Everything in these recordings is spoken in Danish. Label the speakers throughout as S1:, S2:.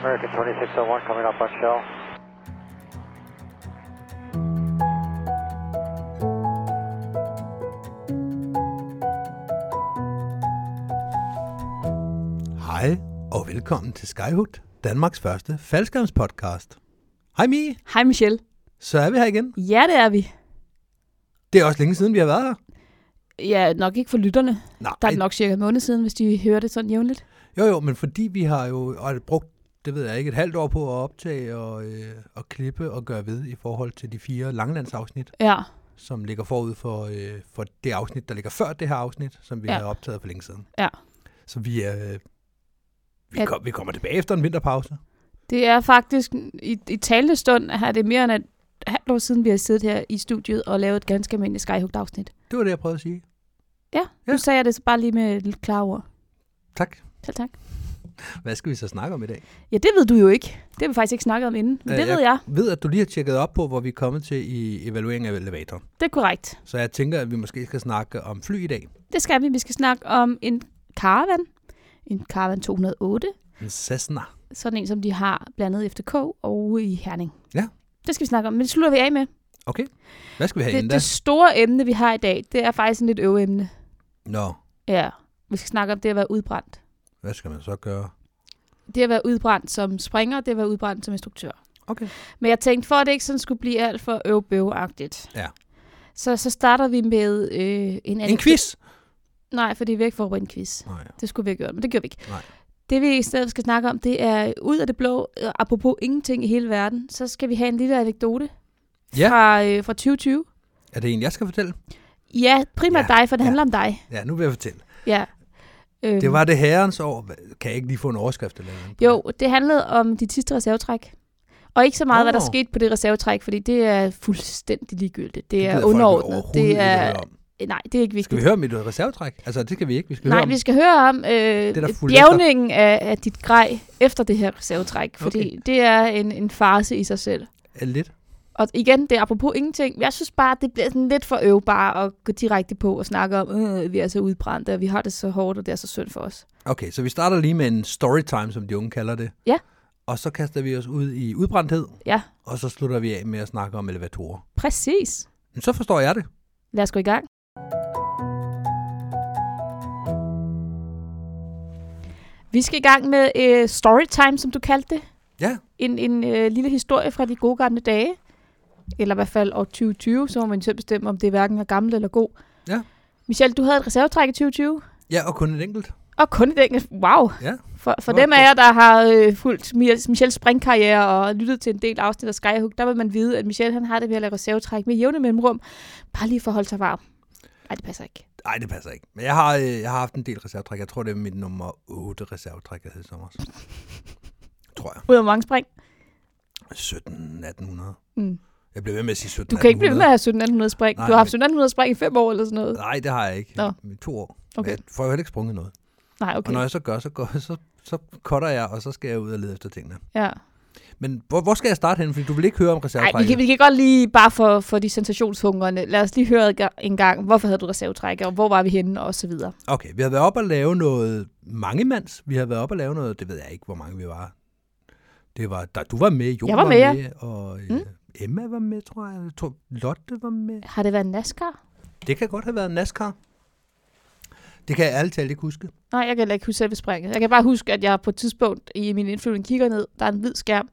S1: American 2601 coming up on shell.
S2: Hej og velkommen til Skyhood, Danmarks første faldskærmspodcast. Hej Mie,
S3: Hej Michelle.
S2: så er vi her igen.
S3: Ja, det er vi.
S2: Det er også længe siden, vi har været her.
S3: Ja, nok ikke for lytterne.
S2: Nej,
S3: Der er det nok cirka en måned siden, hvis de hører det sådan jævnligt.
S2: jo jo, men fordi vi har jo og brugt, det ved jeg ikke, et halvt år på at optage og, øh, og klippe og gøre ved i forhold til de fire langlandsafsnit,
S3: Ja,
S2: som ligger forud for, øh, for det afsnit, der ligger før det her afsnit, som vi ja.
S3: Ja.
S2: har optaget for længe siden.
S3: Ja.
S2: Så vi er... Øh, vi,
S3: Ja.
S2: kom, vi kommer tilbage efter en vinterpause.
S3: det er faktisk i, i talende stund, har det mere end et halvt år siden, vi har siddet her i studiet og lavet et ganske almindeligt Skyhooked-afsnit.
S2: Det var det, jeg prøvede at sige.
S3: Ja,
S2: Ja.
S3: nu sagde jeg det så bare lige med et lidt klare ord.
S2: Tak.
S3: Selv tak.
S2: Hvad skal vi så snakke om i dag?
S3: Ja, det ved du jo ikke. Det har vi faktisk ikke snakket om inden, men
S2: Øh,
S3: det ved jeg.
S2: ved, at du lige har tjekket op på, hvor vi er kommet til i evalueringen af elevatoren.
S3: Det er korrekt.
S2: Så jeg tænker, at vi måske skal snakke om fly i dag.
S3: Det skal vi. Vi skal snakke om en Caravan. En Caravan 208.
S2: En Cessna.
S3: Sådan en, som de har blandet i FDK og E i Herning.
S2: Ja.
S3: Det skal vi snakke om, men det slutter vi af med.
S2: Okay. Hvad skal vi have
S3: det,
S2: inden da?
S3: det store emne, vi har i dag, det er faktisk en lidt øveemne.
S2: Nå,
S3: Ja. Vi skal snakke om det at være udbrændt.
S2: hvad skal man så gøre?
S3: Det at være udbrændt som springer, det at være udbrændt som instruktør.
S2: Okay.
S3: Men jeg tænkte, for at det ikke sådan skulle blive alt for øvbøveagtigt,
S2: Ja.
S3: så, så starter vi med øh, en anden...
S2: En quiz?
S3: Nej, fordi vi har ikke forberedt en quiz.
S2: Nej.
S3: Det skulle vi have gjort, men det gjorde vi ikke.
S2: Nej.
S3: Det vi i stedet skal snakke om, det er ud af det blå, øh, apropos ingenting i hele verden, så skal vi have en lille anekdote
S2: Ja.
S3: fra, øh, fra 2020.
S2: Er det en, jeg skal fortælle?
S3: Ja, primært
S2: Ja,
S3: dig, for det
S2: ja.
S3: handler om dig.
S2: Ja, nu vil jeg fortælle.
S3: Ja. Øhm.
S2: Det var det herrens år. Hva- Kan jeg ikke lige få en overskrift eller noget?
S3: Jo, det handlede om dit sidste reservetræk. Og ikke så meget, oh. hvad der
S2: Åh.
S3: skete på det reservetræk, fordi det er fuldstændig ligegyldigt. Det,
S2: Det gider
S3: er
S2: folk jo
S3: underordnet.
S2: overhovedet
S3: Det
S2: ikke
S3: er,
S2: høre om.
S3: nej, det er ikke
S2: Skal
S3: vigtigt.
S2: vi høre om mit reservetræk? Altså, det kan vi ikke. Vi skal høre
S3: nej,
S2: om...
S3: vi skal høre om øh,
S2: der fulgte
S3: bjergningen af, af dit grej efter det her reservetræk, fordi
S2: Okay.
S3: det er en, en farse i sig selv.
S2: Ja, Lidt.
S3: Og igen, det er apropos ingenting. Jeg synes bare, det bliver sådan lidt for øv bare at gå direkte på og snakke om, øh, vi er så udbrændte, og vi har det så hårdt, og det er så synd for os.
S2: Okay, så vi starter lige med en storytime, som de unge kalder det.
S3: Ja.
S2: Og så kaster vi os ud i udbrændthed,
S3: Ja,
S2: og så slutter vi af med at snakke om elevatorer.
S3: præcis.
S2: Men så forstår jeg det.
S3: Lad os gå i gang. Vi skal i gang med øh, storytime, som du kaldte det.
S2: Ja.
S3: En, en øh, lille historie fra de gode gamle dage. Eller i hvert fald år 2020, så må man selv bestemme, om det hverken er gammel eller god.
S2: Ja.
S3: Michelle, du havde et reservetræk i 2020.
S2: Ja, og kun et enkelt.
S3: Og kun et enkelt. Wow.
S2: Ja.
S3: For, for
S2: Nå,
S3: dem af
S2: godt.
S3: jer, der har øh, fulgt Mi- Michelles springkarriere og lyttet til en del afsnit af Skyhook, der vil man vide, at Michelle han har det ved at lave reservetræk med jævne mellemrum. Bare lige for at holde sig varm. Nej, det passer ikke.
S2: Nej, det passer ikke. Men jeg har, øh, jeg har haft en del reservetræk. Jeg tror, det er mit nummer 8 reservetræk, jeg havde i sommer. tror jeg.
S3: Ud af mange spring.
S2: 17 1800.
S3: Mm.
S2: Jeg blev ved med at sige 17
S3: Du kan ikke blive ved med at have 1700 spring.
S2: Nej,
S3: du har haft
S2: men-
S3: 1700 spring i fem år eller sådan noget.
S2: Nej, det har jeg ikke.
S3: Nå.
S2: I to år. Okay.
S3: Okay.
S2: Jeg får jo heller ikke sprunget noget. Okay.
S3: Nej,
S2: Og
S3: okay.
S2: når jeg så gør, så, går, så, så cutter jeg, og så skal jeg ud og lede efter tingene.
S3: Ja.
S2: Men hvor, hvor skal jeg starte hen? Fordi du vil ikke høre om
S3: Ej, vi
S2: reservetrækket.
S3: kan, vi kan godt lige, bare for, for de sensationshungrende, lad os lige høre adga- en gang, hvorfor havde du reservetræk, og hvor var vi henne, og så videre.
S2: Okay, vi har været op og lave noget mange mands. Vi har været op og lave noget, det ved jeg ikke, hvor mange vi var. Det var, der, du var med, Jo
S3: Jeg var med, ja.
S2: og øh, mm. Emma var med, tror jeg. jeg tror, Lotte var med.
S3: Har det været NASCAR?
S2: Det kan godt have været NASCAR. Det kan jeg ærligt talt ikke huske.
S3: Nej, jeg kan heller ikke huske selve springet. Jeg kan bare huske, at jeg på et tidspunkt i min indflyvning kigger ned, der er en hvid skærm,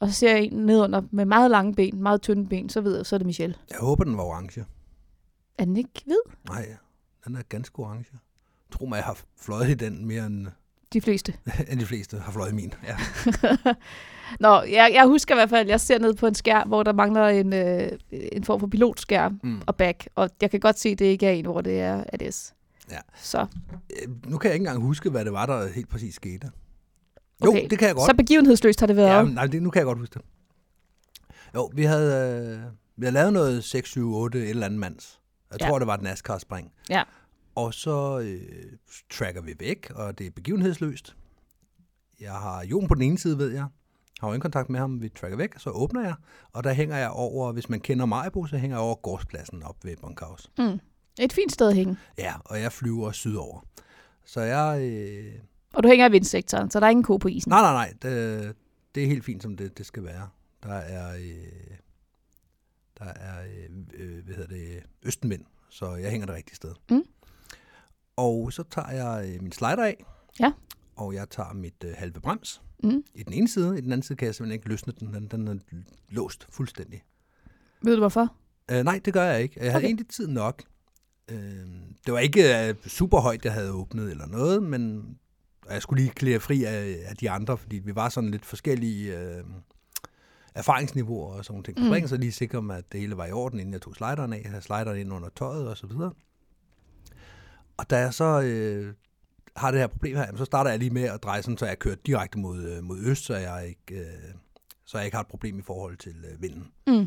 S3: og så ser jeg en nedunder med meget lange ben, meget tynde ben, så ved jeg, så er det Michelle.
S2: Jeg håber, den var orange.
S3: Er den ikke hvid?
S2: Nej, den er ganske orange. Tro mig, jeg har fløjet i den mere end,
S3: De fleste.
S2: end de fleste har fløjet i min. Ja.
S3: Nå, jeg, jeg husker i hvert fald, at jeg ser ned på en skærm, hvor der mangler en, øh, en form for pilotskærm
S2: Mm.
S3: mm. og back. Og jeg kan godt se, at det ikke er en, hvor det er ADS.
S2: Ja.
S3: Så,
S2: Øh, Nu kan jeg ikke engang huske, hvad det var, der helt præcis skete. Jo,
S3: okay.
S2: det kan jeg godt.
S3: Så begivenhedsløst har det været.
S2: Ja,
S3: Ja.
S2: men nej, det, nu kan jeg godt huske det. Jo, vi havde, øh, vi havde lavet noget 6, 7, 8, et eller andet mands. Jeg
S3: Ja.
S2: tror, det var et NASCAR-spring.
S3: Ja.
S2: Og så øh, tracker vi væk, og det er begivenhedsløst. Jeg har Jon på den ene side, ved jeg. Har jo kontakt med ham, vi tracker væk, så åbner jeg. Og der hænger jeg over, hvis man kender Majbo, så hænger jeg over gårdspladsen op ved Bunkhouse.
S3: Mm. Et fint sted at hænge.
S2: Ja, og jeg flyver sydover. Så jeg... Øh,
S3: Og du hænger i vindsektoren, så der er ingen ko på isen.
S2: Nej, nej, nej. Det, det er helt fint, som det, det skal være. Der er, øh, der er øh, øh, hvad hedder det, østenvind, så jeg hænger det rigtige sted.
S3: Mm.
S2: Og så tager jeg øh, min slider af,
S3: Ja.
S2: og jeg tager mit øh, halve brems
S3: Mm.
S2: i den ene side. I den anden side kan jeg simpelthen ikke løsne den. Den, den er låst fuldstændig.
S3: Ved du hvorfor?
S2: Øh, nej, det gør jeg ikke. Jeg havde
S3: Okay.
S2: okay. egentlig tid nok. Øh, det var ikke øh, super højt, jeg havde åbnet eller noget, men og jeg skulle lige klæde fri af, af de andre, fordi vi var sådan lidt forskellige øh, erfaringsniveauer og sådan nogle ting.
S3: Mm.
S2: Mm. Springen så lige sikre mig, at det hele var i orden, inden jeg tog slideren af. Jeg havde slideren ind under tøjet og så videre. Og da jeg så øh, har det her problem her, jamen, så starter jeg lige med at dreje sådan, så jeg kører direkte mod, øh, mod øst, så jeg, ikke, øh, så jeg ikke har et problem i forhold til øh, vinden.
S3: Mm.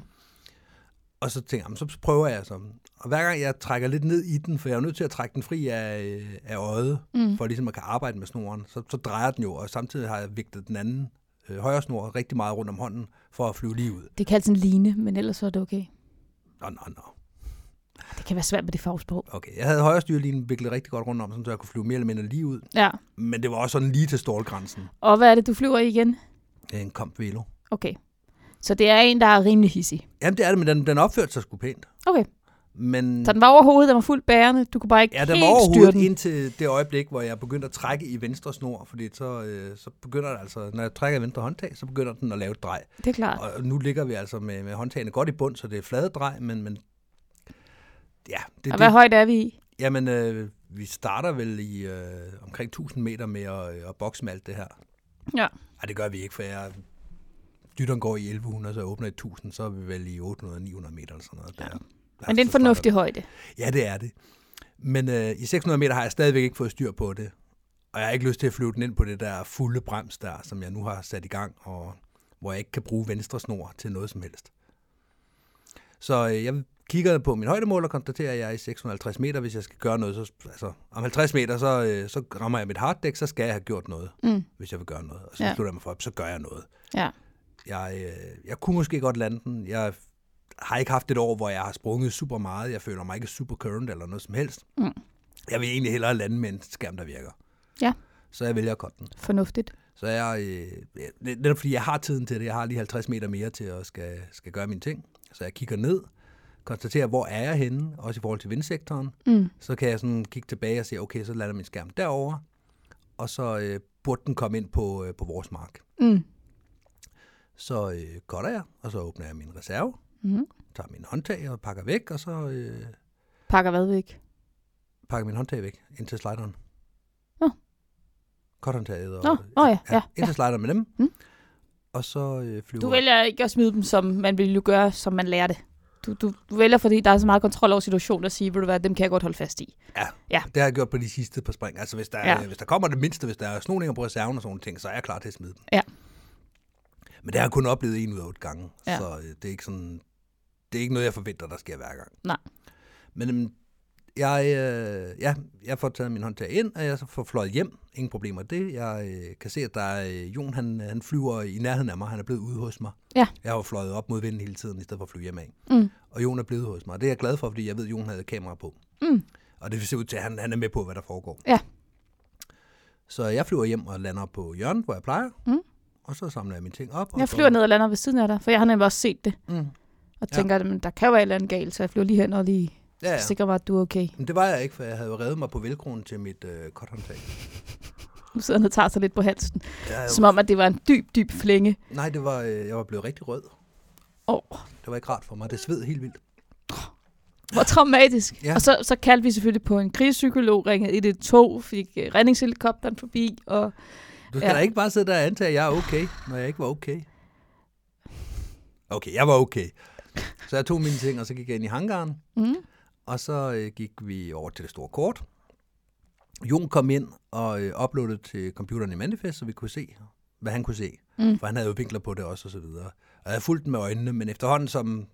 S2: Og så tænker jeg, "Jamen, så prøver jeg så. Og hver gang jeg trækker lidt ned i den, for jeg er jo nødt til at trække den fri af, øh, af øjet,
S3: Mm.
S2: for ligesom at kan arbejde med snoren, så, så drejer den jo, og samtidig har jeg vigtet den anden øh, højre snor rigtig meget rundt om hånden, for at flyve lige ud.
S3: Det kan sådan ligne, men ellers var det okay.
S2: Nå, nå, nå.
S3: Det kan være svært med det fagsprog.
S2: Okay, jeg havde højre styrlinjen viklet rigtig godt rundt om, sådan, så jeg kunne flyve mere eller mindre lige ud,
S3: Ja.
S2: men det var også sådan lige til stålgrænsen.
S3: Og hvad er det, du flyver i igen?
S2: Øh, En komp velo.
S3: Okay. Så det er en, der er rimelig hissig.
S2: Jamen det er det, men den, den opførte sig sgu pænt.
S3: Okay.
S2: Men
S3: Så den var over hovedet, den var fuldt bærende. Du kunne bare ikke
S2: ja,
S3: helt
S2: den var
S3: styre
S2: overhovedet
S3: den.
S2: indtil det øjeblik, hvor jeg begyndte at trække i venstre snor, fordi så, øh, så begynder det altså, når jeg trækker i venstre håndtag, så begynder den at lave et drej.
S3: Det er klart.
S2: Og nu ligger vi altså med, med håndtagene godt i bund, så det er flade drej, men, men ja, det,
S3: Og hvad
S2: det,
S3: højt er vi i?
S2: jamen, øh, vi starter vel i øh, omkring 1000 meter med at, øh, at bokse med alt det her.
S3: Ja.
S2: Nej, det gør vi ikke, for jeg dytteren går i 1100, så jeg åbner i 1000, så er vi vel i 800-900 meter eller sådan noget. Ja. Der.
S3: Men det er en
S2: Så starter
S3: fornuftig højde.
S2: Ja, det er det. Men øh, i 600 meter har jeg stadigvæk ikke fået styr på det. Og jeg har ikke lyst til at flyve den ind på det der fulde brems der, som jeg nu har sat i gang, og hvor jeg ikke kan bruge venstre snor til noget som helst. Så øh, jeg kigger på min højdemål og konstaterer, at jeg er i 650 meter. Hvis jeg skal gøre noget, så, altså, om 50 meter, så, øh, så rammer jeg mit harddæk, så skal jeg have gjort noget,
S3: Mm.
S2: hvis jeg vil gøre noget. Og så
S3: Ja.
S2: ja. slutter jeg mig for op, så gør jeg noget.
S3: Ja.
S2: Jeg, øh, jeg kunne måske godt lande den. Jeg har ikke haft et år, hvor jeg har sprunget super meget. Jeg føler mig ikke super current eller noget som helst.
S3: Mm.
S2: Jeg vil egentlig hellere lande med en skærm, der virker.
S3: Ja.
S2: Så jeg vælger kotten.
S3: Fornuftigt.
S2: Så jeg, øh, jeg- det det er fordi, jeg har tiden til det. Jeg har lige 50 meter mere til at skal, skal gøre mine ting. Så jeg kigger ned, konstaterer, hvor er jeg henne, også i forhold til vindsektoren.
S3: Mm.
S2: Så kan jeg sådan kigge tilbage og se, okay, så lander min skærm derovre. Og så øh, burde den komme ind på, øh, på vores mark.
S3: Mm.
S2: Så øh, cutter jeg, og så åbner jeg min reserve,
S3: Mm.
S2: tager min håndtag og pakker væk, og så øh,
S3: Pakker hvad væk?
S2: pakker min håndtag væk ind til slideren.
S3: Nå.
S2: Cuthåndtaget og...
S3: Nå, nå ja, ja,
S2: ind til slideren med dem.
S3: Mm.
S2: Og så øh, flyver...
S3: Du vælger ikke at smide dem, som man ville jo gøre, som man lærer det. Du, du, du vælger, fordi der er så meget kontrol over situationen, at sige, vil du hvad, dem kan jeg godt holde fast i.
S2: Det har jeg gjort på de sidste par spring. Altså, hvis der,
S3: Ja.
S2: ja. hvis der kommer det mindste, hvis der er snoninger på reserven og sådan nogle ting, så er jeg klar til at smide dem.
S3: Ja.
S2: Men det har jeg kun oplevet en ud af otte gange,
S3: Ja.
S2: ja. så øh, det er ikke sådan... Det er ikke noget, jeg forventer, der sker hver gang.
S3: Nej.
S2: Men øhm, jeg, øh, ja, jeg får taget min håndtag ind, og jeg så får fløjet hjem. Ingen problemer med det. Jeg øh, kan se, at der er, øh, Jon han, han flyver i nærheden af mig. Han er blevet ude hos mig.
S3: Ja.
S2: Jeg har jo fløjet op mod vinden hele tiden, i stedet for at flyve hjem af.
S3: Mm.
S2: Og Jon er blevet hos mig. Og det er jeg glad for, fordi jeg ved, at Jon havde kamera på.
S3: Mm.
S2: Og det ser ud til, at han, han er med på, hvad der foregår.
S3: Ja.
S2: Så jeg flyver hjem og lander på hjørnet, hvor jeg plejer.
S3: Mm.
S2: Og så samler jeg mine ting op. og
S3: Jeg
S2: så-
S3: flyver ned og lander ved siden af dig, for jeg har nemlig også set det,
S2: Mm.
S3: og
S2: Ja.
S3: tænker, at men, der kan jo være et eller andet galt, så jeg flyver lige hen og lige
S2: Ja,
S3: ja.
S2: ja.
S3: sikrer mig, at du er okay.
S2: Men det var jeg ikke, for jeg havde jo reddet mig på velkronen til mit øh, korthåndtag.
S3: Nu sidder han og tager sig lidt på halsen,
S2: Jeg,
S3: som om, at det var en dyb, dyb flænge.
S2: nej, det var, øh, jeg var blevet rigtig rød.
S3: Åh,
S2: Det var ikke rart for mig. Det sved helt vildt.
S3: hvor traumatisk. Ja.
S2: Ja.
S3: Og så, så kaldte vi selvfølgelig på en krigspsykolog, ringede i det tog, fik øh, redningshelikopteren forbi, og
S2: Du skal
S3: Ja.
S2: ja. da ikke bare sidde der og antage, at jeg er okay, når jeg ikke var okay. Okay, jeg var okay. Så jeg tog mine ting, og så gik jeg ind i hangaren.
S3: mm,
S2: Og så øh, gik vi over til det store kort. Jon kom ind og øh, uploadede til computeren i Manifest, så vi kunne se, hvad han kunne se.
S3: Mm.
S2: For han havde jo vinkler på det også, og så videre. Og jeg fulgte den med øjnene, men efterhånden som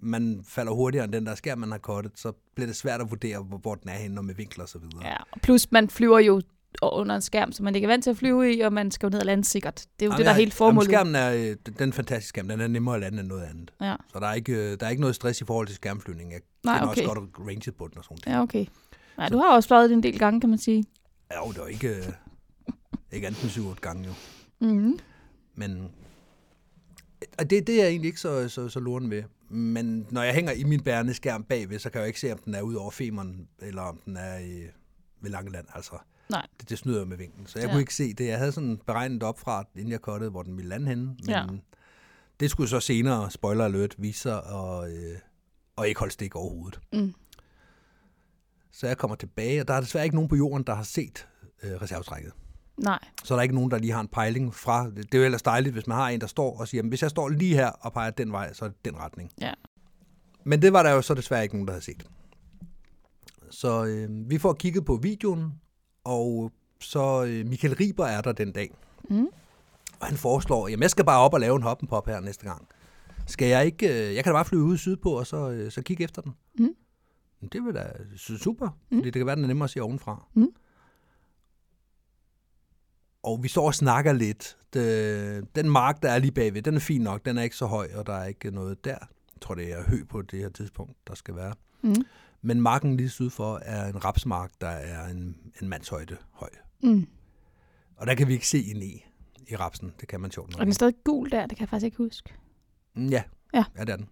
S2: man falder hurtigere end den der skærm, man har kortet, så bliver det svært at vurdere, hvor, hvor den er henne, og med vinkler og så videre.
S3: ja. Og plus man flyver jo under en skærm, som man ikke er vant til at flyve i, og man skal jo ned og lande sikkert. Det er jo
S2: Jamen,
S3: det, der er
S2: jeg-
S3: hele formålet.
S2: Jamen, skærmen er, øh, den- den er fantastisk skærm, den er nemmere at lande end noget andet.
S3: Ja.
S2: Så der er ikke, øh, der er ikke noget stress i forhold til skærmflyvning. Jeg
S3: Nej,
S2: kender
S3: okay.
S2: også godt ranget på den og sådan noget.
S3: Ja, okay. Nej, du har også fløjet det en del gange, kan man sige.
S2: Ja. Jo, det var ikke, øh, ikke andet end 7-8 gange jo.
S3: Mm.
S2: Men Og det, det er jeg egentlig ikke så, så, så luren ved. Men når jeg hænger i min bærende skærm bagved, så kan jeg jo ikke se, om den er ud over femeren, eller om den er i, ved Langeland. Altså,
S3: Nej.
S2: det, det snyder jo med vinklen. Så jeg
S3: Ja.
S2: ja. kunne ikke se det. Jeg havde sådan beregnet op fra, inden jeg kottede, hvor den ville lande henne. Men
S3: Ja.
S2: ja. det skulle så senere, spoiler alert, vise sig og, øh, og ikke holde stik overhovedet.
S3: Mm.
S2: Så jeg kommer tilbage, og der er desværre ikke nogen på jorden, der har set øh, reservetrækket.
S3: Nej.
S2: Så er der ikke nogen, der lige har en pejling fra. Det er jo ellers dejligt, hvis man har en, der står og siger, "Jamen, hvis jeg står lige her og peger den vej, så er det den retning.
S3: Ja.
S2: Men det var der jo så desværre ikke nogen, der havde set. Så øh, vi får kigget på videoen, og så øh, Michael Riber er der den dag.
S3: Mm.
S2: Og han foreslår, jamen jeg skal bare op og lave en hoppenpop her næste gang. Skal jeg ikke, øh, jeg kan da bare flyve ud sydpå, og så, øh, så kigge efter den.
S3: Mm.
S2: Men Det vil da sy- super, mm. fordi det kan være, den er nemmere at se ovenfra.
S3: Mm.
S2: Og vi står og snakker lidt. Det, den mark, der er lige bagved, den er fin nok, den er ikke så høj, og der er ikke noget der. Jeg tror, det er hø på det her tidspunkt, der skal være.
S3: Mm.
S2: Men marken lige syd for er en rapsmark, der er en, en mandshøjde høj.
S3: Mm.
S2: Og der kan vi ikke se en i, i rapsen. Det kan man sjovt nok
S3: Og den er stadig gul der, det kan jeg faktisk ikke huske.
S2: Mm, Ja.
S3: Ja.
S2: ja, det er den.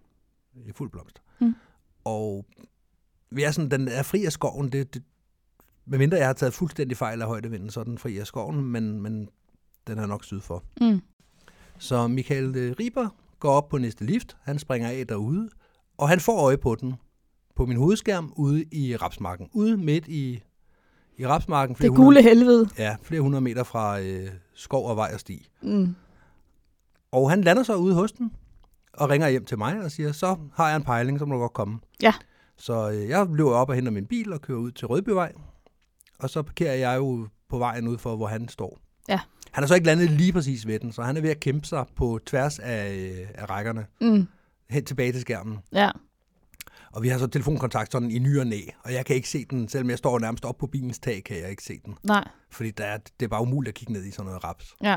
S2: I fuld blomst.
S3: Mm.
S2: Og vi er sådan, den er fri af skoven. Det, det, medmindre jeg har taget fuldstændig fejl af højdevinden, så er den fri af skoven, men, men den er nok syd for.
S3: Mm.
S2: Så Michael øh, Riber går op på næste lift. Han springer af derude, og han får øje på den på min hovedskærm ude i rapsmarken. Ude midt i, i rapsmarken.
S3: Det
S2: flere
S3: gule helvede.
S2: Hundrede, ja, flere hundrede meter fra øh, skov og vej og sti.
S3: Mm.
S2: Og han lander så ude hos den, og ringer hjem til mig og siger, så har jeg en pejling, så må du godt komme.
S3: Ja.
S2: Så øh, jeg løber op og henter min bil og kører ud til Rødbyvej, og så parkerer jeg jo på vejen ud for, hvor han står.
S3: Ja.
S2: Han er så ikke landet lige præcis ved den, så han er ved at kæmpe sig på tværs af, øh, af rækkerne,
S3: Mm.
S2: hen tilbage til skærmen.
S3: Ja.
S2: Og vi har så telefonkontakt sådan i ny og næ, og jeg kan ikke se den, selvom jeg står nærmest op på bilens tag, kan jeg ikke se den.
S3: Nej.
S2: Fordi der er, det er bare umuligt at kigge ned i sådan noget raps.
S3: Ja.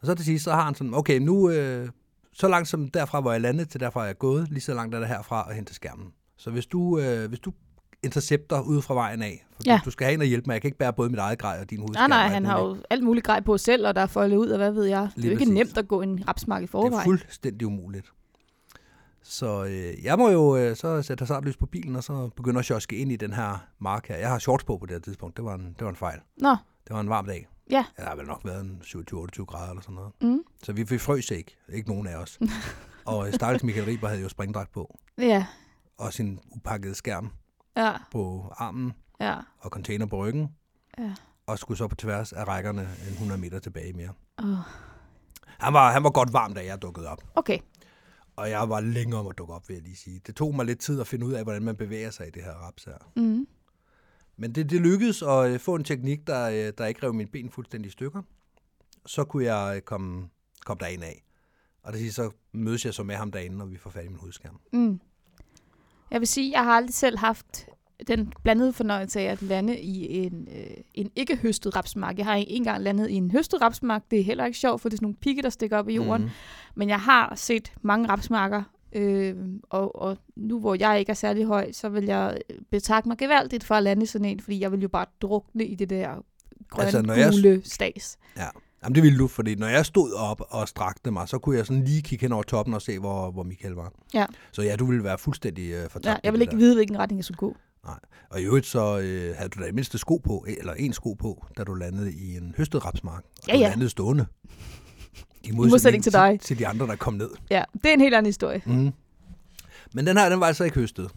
S2: Og så til sidst, så har han sådan, okay, nu øh, så langt som derfra, hvor jeg landede, til derfra, jeg er gået, lige så langt er det herfra og hen til skærmen. Så hvis du, øh, hvis du intercepter ude fra vejen af, for
S3: Ja.
S2: ja. du skal have en og hjælpe mig, jeg kan ikke bære både mit eget grej og din
S3: Nej,
S2: hovedskærm. og
S3: nej,
S2: alt
S3: han
S2: muligt.
S3: har jo alt muligt grej på selv, og der er foldet ud, og hvad ved jeg. Det er
S2: Lige
S3: jo ikke
S2: præcis.
S3: nemt at gå en rapsmark i
S2: Det er
S3: forvejen.
S2: fuldstændig umuligt. Så øh, jeg må jo øh, så sætte hasardlys på bilen, og så begynde at sjoske ind i den her mark her. Jeg har shorts på på det her tidspunkt, det var en, det var en fejl.
S3: Nå,
S2: Det var en varm dag.
S3: Ja.
S2: Der har vel nok været en 27-28 grader eller sådan noget.
S3: Mm.
S2: Så vi, vi frøs ikke. Ikke nogen af os. og øh, stakkels Michael Riber havde jo springdragt på.
S3: ja,
S2: Og sin upakkede skærm
S3: ja,
S2: på armen
S3: ja.
S2: og container på ryggen.
S3: Ja.
S2: Og skulle så på tværs af rækkerne en 100 meter tilbage mere.
S3: Åh.
S2: Han var, han var godt varm, da jeg dukkede op.
S3: Okay,
S2: Og jeg var længe om at dukke op, vil jeg lige sige. Det tog mig lidt tid at finde ud af, hvordan man bevæger sig i det her raps her.
S3: mm.
S2: Men det, det lykkedes at øh, få en teknik, der, øh, der ikke rev mine ben fuldstændig i stykker. Så kunne jeg øh, komme, komme derind af. Og det siger, så mødes jeg så med ham derinde, og vi får fat i min hovedskærm.
S3: Mm. Jeg vil sige, jeg har aldrig selv haft den blandede fornøjelse af at lande i en, øh, en ikke høstet rapsmark. Jeg har ikke engang landet i en høstet rapsmark. Det er heller ikke sjovt, for det er sådan nogle pigge, der stikker op i jorden.
S2: Mhm.
S3: Mm. Men jeg har set mange rapsmarker, øh, og, og nu hvor jeg ikke er særlig høj, så vil jeg betakke mig gevaldigt for at lande i sådan en, fordi jeg vil jo bare drukne i det der grønne,
S2: Altså,
S3: altså,
S2: når jeg-
S3: gule jeg... stas.
S2: Jamen det ville du, fordi når jeg stod op og strakte mig, så kunne jeg sådan lige kigge hen over toppen og se, hvor, hvor Michael var.
S3: Ja.
S2: Så ja, du ville være fuldstændig øh, fortabt.
S3: Ja,
S2: i
S3: jeg vil
S2: det
S3: ikke vide, hvilken retning jeg skulle gå.
S2: der. Og i øvrigt så øh, havde du da i det mindste sko på, eh, eller en sko på, da du landede i en høstet rapsmark. Og
S3: Ja,
S2: du
S3: ja.
S2: landede stående. I
S3: modsætning til dig.
S2: Til, til de andre, der kom ned.
S3: Ja, det er en helt anden historie.
S2: Mm. Men den her, den var altså ikke høstet.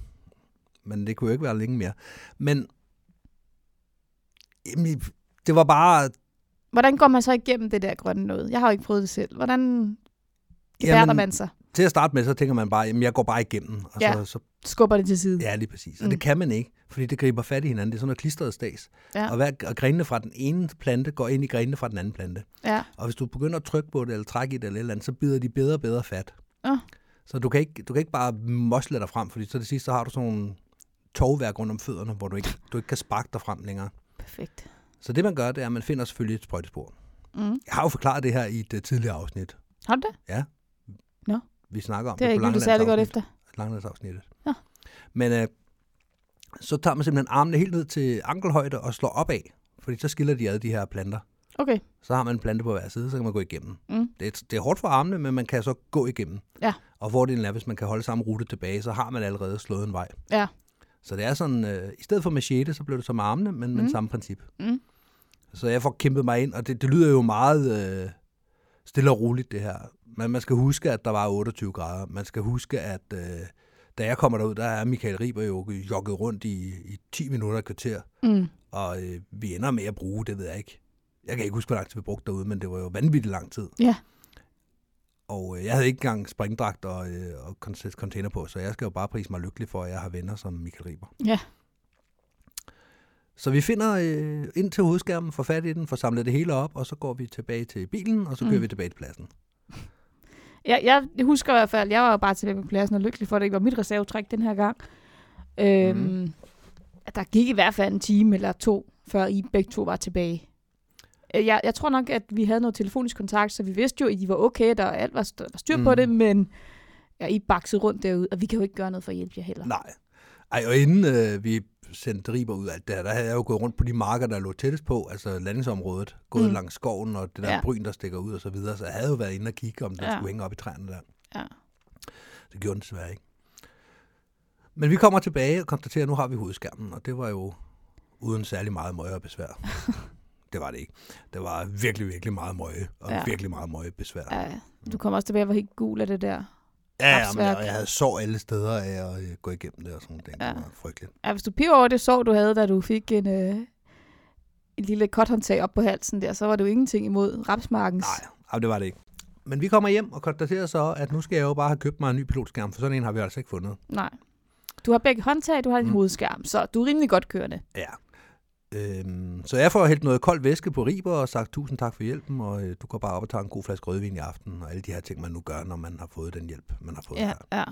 S2: Men det kunne jo ikke være længe mere. Men jamen, det var bare...
S3: Hvordan går man så igennem det der grønne noget? Jeg har jo ikke prøvet det selv. Hvordan gebærder man sig?
S2: til at starte med, så tænker man bare, jamen jeg går bare igennem. Og
S3: Ja.
S2: så, så,
S3: Skubber det til side?
S2: ja, lige præcis. Og
S3: Mm.
S2: det kan man ikke, fordi det griber fat i hinanden. Det er sådan noget klistret stads.
S3: Ja.
S2: Og, hver, og grenene fra den ene plante går ind i grenene fra den anden plante.
S3: ja.
S2: Og hvis du begynder at trykke på det, eller trække i det, eller, et eller andet, så bider de bedre og bedre fat.
S3: Nå.
S2: Så du kan, ikke, du kan ikke bare mosle dig frem, fordi så til sidst så har du sådan nogle tovværk rundt om fødderne, hvor du ikke, du ikke kan sparke dig frem længere.
S3: Perfekt.
S2: Så det man gør, det er, at man finder selvfølgelig et sprøjtespor.
S3: Mm.
S2: Jeg har jo forklaret det her i et øh, tidligere afsnit.
S3: Har du det?
S2: Vi snakker om
S3: Det har jeg
S2: på
S3: ikke lyttet særlig godt
S2: Langelandsafsnit-
S3: efter.
S2: Langelandsafsnittet.
S3: Nå.
S2: Men øh, så tager man simpelthen armene helt ned til ankelhøjde og slår opad, fordi så skiller de ad de her planter.
S3: Okay.
S2: Så har man en plante på hver side, så kan man gå igennem.
S3: Mm.
S2: Det er, det er hårdt for armene, men man kan så gå igennem.
S3: Ja.
S2: Og fordelen er, hvis man kan holde samme rute tilbage, så har man allerede slået en vej.
S3: Ja.
S2: Så det er sådan, øh, i stedet for machete, så blev det så med armene, men mm.
S3: Mm.
S2: men samme princip.
S3: Mm.
S2: Så jeg får kæmpet mig ind, og det, det lyder jo meget øh, stille og roligt, det her. Men man skal huske, at der var 28 grader. Man skal huske, at øh, da jeg kommer derud, der er Michael Riber jo jogget rundt i, i 10 minutter et kvarter.
S3: Mm.
S2: Og øh, vi ender med at bruge, det ved jeg ikke. Jeg kan ikke huske, hvor lang tid vi brugte derude, men det var jo vanvittigt lang tid.
S3: Ja.
S2: Og øh, jeg havde ikke engang springdragt og, øh, og kon- container på, så jeg skal jo bare prise mig lykkelig for, at jeg har venner som Michael Riber.
S3: Ja.
S2: Så vi finder øh, ind til hovedskærmen, får fat i den, får samlet det hele op, og så går vi tilbage til bilen, og så kører
S3: Mm.
S2: mm. vi tilbage til pladsen.
S3: Jeg, jeg husker i hvert fald, jeg var jo bare tilbage på pladsen og lykkelig for, at det ikke var mit reservetræk den her gang. Øhm, mm. Der gik i hvert fald en time eller to, før I begge to var tilbage. Øh, Jeg, jeg tror nok, at vi havde noget telefonisk kontakt, så vi vidste jo, at I var okay, der alt var, st- var styr på
S2: Mm.
S3: det, men ja, I baksede rundt derude, og vi kan jo ikke gøre noget for at hjælpe jer heller.
S2: Nej. Ej, og inden øh, vi sendte Riber ud af alt det her, der havde jeg jo gået rundt på de marker, der lå tættest på, altså landingsområdet, gået
S3: Mm.
S2: mm. langs skoven og det der
S3: Ja.
S2: ja. bryn, der stikker ud og så videre, så jeg havde jo været inde og kigge, om den
S3: Ja.
S2: ja. skulle hænge op i træerne der.
S3: Ja.
S2: Det gjorde den desværre ikke. Men vi kommer tilbage og konstaterer, at nu har vi hovedskærmen, og det var jo uden særlig meget møje og besvær. det var det ikke. Det var virkelig, virkelig meget møje, og
S3: Ja.
S2: ja. virkelig meget møje besvær. Ja,
S3: Ja, du kom også tilbage og var helt gul af det der.
S2: ja, ja men
S3: Hapsværk.
S2: jeg, jeg havde sår alle steder af at øh, gå igennem det og sådan noget.
S3: Ja.
S2: Ja. Det var frygteligt.
S3: Ja, hvis du piver over det sår, du havde, da du fik en, øh, en lille kothåndtag op på halsen der, så var du ingenting imod rapsmarkens.
S2: Nej, ej, det var det ikke. Men vi kommer hjem og konstaterer så, at nu skal jeg jo bare have købt mig en ny pilotskærm, for sådan en har vi altså ikke fundet.
S3: Nej. Du har begge håndtag, du har din mm.
S2: Mm.
S3: hovedskærm, så du er rimelig godt kørende.
S2: Ja. Øhm, så jeg får hældt noget koldt væske på Riber og sagt tusind tak for hjælpen, og øh, du går bare op og tager en god flaske rødvin i aften, og alle de her ting, man nu gør, når man har fået den hjælp, man har fået.
S3: Ja,
S2: Ja.
S3: ja.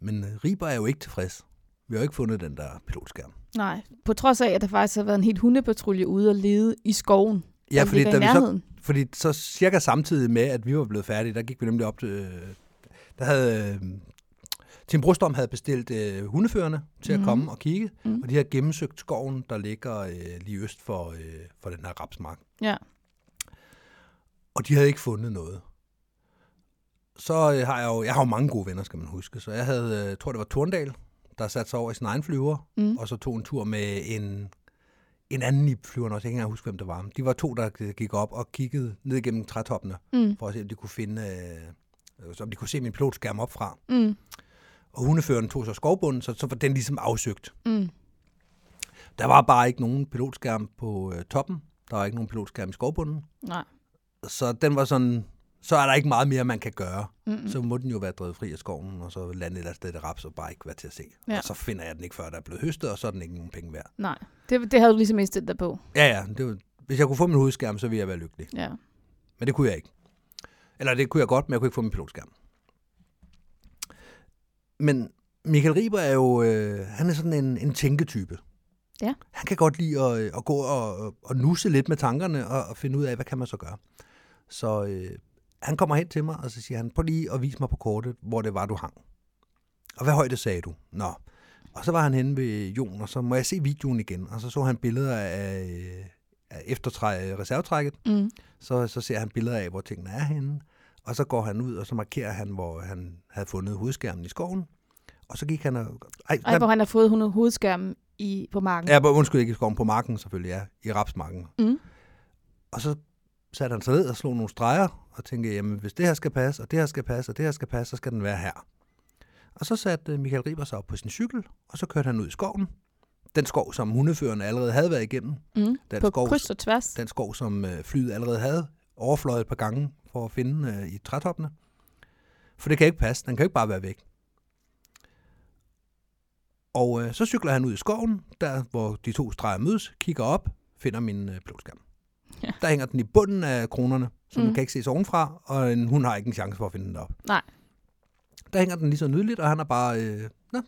S2: Men øh, Riber er jo ikke tilfreds. Vi har jo ikke fundet den der pilotskærm.
S3: Nej. På trods af, at der faktisk har været en helt hundepatrulje ude og lede i skoven.
S2: Ja,
S3: der
S2: fordi,
S3: ligger
S2: da
S3: i
S2: vi så,
S3: nærheden.
S2: fordi så cirka samtidig med, at vi var blevet færdige, der gik vi nemlig op til... Øh, der havde... Øh, Tim Brostom havde bestilt øh, hundeførerne til at
S3: Mhm.
S2: komme og kigge,
S3: Mhm.
S2: og de har gennemsøgt skoven, der ligger øh, lige øst for, øh, for den her rapsmark.
S3: Ja.
S2: Og de havde ikke fundet noget. Så øh, har jeg jo, jeg har jo mange gode venner, skal man huske. Så jeg havde, øh, jeg tror det var Torndal, der satte sig over i sin egen flyver,
S3: Mm.
S2: og så tog en tur med en, en anden i flyveren også. Jeg kan ikke engang huske, hvem det var. De var to, der gik op og kiggede ned gennem trætoppene,
S3: Mm.
S2: for at se, om de kunne finde... Øh, så om de kunne se min pilotskærm op fra.
S3: Mm.
S2: Og hundeføreren tog så skovbunden, så, så var den ligesom afsøgt.
S3: Mm.
S2: Der var bare ikke nogen pilotskærm på øh, toppen. Der var ikke nogen pilotskærm i skovbunden.
S3: Nej.
S2: Så den var sådan... Så er der ikke meget mere, man kan gøre.
S3: Mm.
S2: Så må den jo være drevet fri af skoven, og så lande et eller andet sted i det raps, og bare ikke være til at se.
S3: Ja.
S2: Ja. Og så finder jeg den ikke, før der er blevet høstet, og så er den ikke nogen penge værd.
S3: Nej. Det, det havde du ligesom indstillet dig på.
S2: Ja, ja. Det var, hvis jeg kunne få min hovedskærm, så ville jeg være lykkelig.
S3: Ja.
S2: Men det kunne jeg ikke. Eller det kunne jeg godt, men jeg kunne ikke få min pilotskærm. Men Michael Riber er jo, øh, han er sådan en, en tænketype.
S3: Ja.
S2: Han kan godt lide at, øh, at gå og, og nusse lidt med tankerne og, og finde ud af, hvad kan man så gøre. Så øh, han kommer hen til mig, og så siger han, prøv lige at vise mig på kortet, hvor det var, du hang. Og hvad højde sagde du? Nå. Og så var han henne ved Jon, og så må jeg se videoen igen. Og så så han billeder af, øh, af eftertræ, reservetrækket,
S3: Mm.
S2: så, så ser han billeder af, hvor tingene er henne, og så går han ud, og så markerer han, hvor han havde fundet hovedskærmen i skoven, og så gik han og... Ej,
S3: Ej, hvor han har fået hunde- hovedskærmen i, på marken.
S2: ja, undskyld, ikke i skoven, på marken selvfølgelig, ja, i rapsmarken.
S3: Mm.
S2: Og så satte han sig ned og slog nogle streger, og tænkte, jamen hvis det her skal passe, og det her skal passe, og det her skal passe, så skal den være her. Og så satte øh, Michael Riber sig op på sin cykel, og så kørte han ud i skoven. Den skov, som hundeførerne allerede havde været igennem.
S3: Mm.
S2: Den
S3: På
S2: skov,
S3: kryds og tværs.
S2: den skov, som øh, flyet allerede havde overfløjet et par gange for at finde øh, i trætoppene. For det kan ikke passe. Den kan jo ikke bare være væk. Og øh, så cykler han ud i skoven, der hvor de to streger mødes, kigger op, finder min øh, pilotskærm.
S3: Ja.
S2: Ja. Der hænger den i bunden af kronerne, så mm.
S3: Mm.
S2: den kan ikke ses ovenfra, og en, hun har ikke en chance for at finde den op.
S3: Nej.
S2: Der hænger den lige så nydeligt, og han er bare, øh, nå,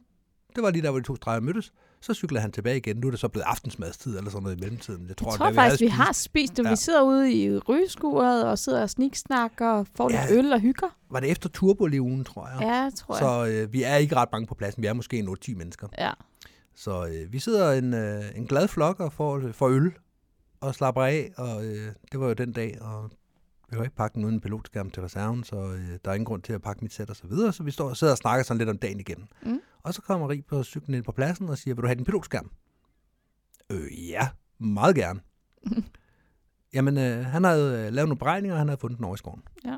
S2: det var lige der, hvor de to streger mødtes. Så cykler han tilbage igen. Nu er det så blevet aftensmadstid eller sådan noget i mellemtiden. Jeg tror,
S3: Jeg
S2: da
S3: tror
S2: vi
S3: faktisk,
S2: havde
S3: vi
S2: spist-
S3: har spist det. Ja. Vi
S2: Ja.
S3: sidder ude i rygeskuret og sidder og sniksnakker og får ja. lidt
S2: Ja.
S3: øl og hygger.
S2: var det efter turboliven, tror jeg.
S3: Ja, tror jeg.
S2: Så øh, vi er ikke ret mange på pladsen. Vi er måske en 8-10 mennesker.
S3: Ja.
S2: Så øh, vi sidder en, øh, en glad flok og får, får øl og slapper af, og øh, det var jo den dag, og vi kan ikke pakke den uden en pilotskærm til reserven, så øh, der er ingen grund til at pakke mit sæt og så videre, så vi står og sidder og snakker sådan lidt om dagen igen.
S3: Mm.
S2: Og så kommer Rig på cyklen ind på pladsen og siger, vil du have din pilotskærm? Øh, ja, meget gerne. Jamen, øh, han havde øh, lavet nogle beregninger, og han havde fundet den over i skoven.
S3: Ja.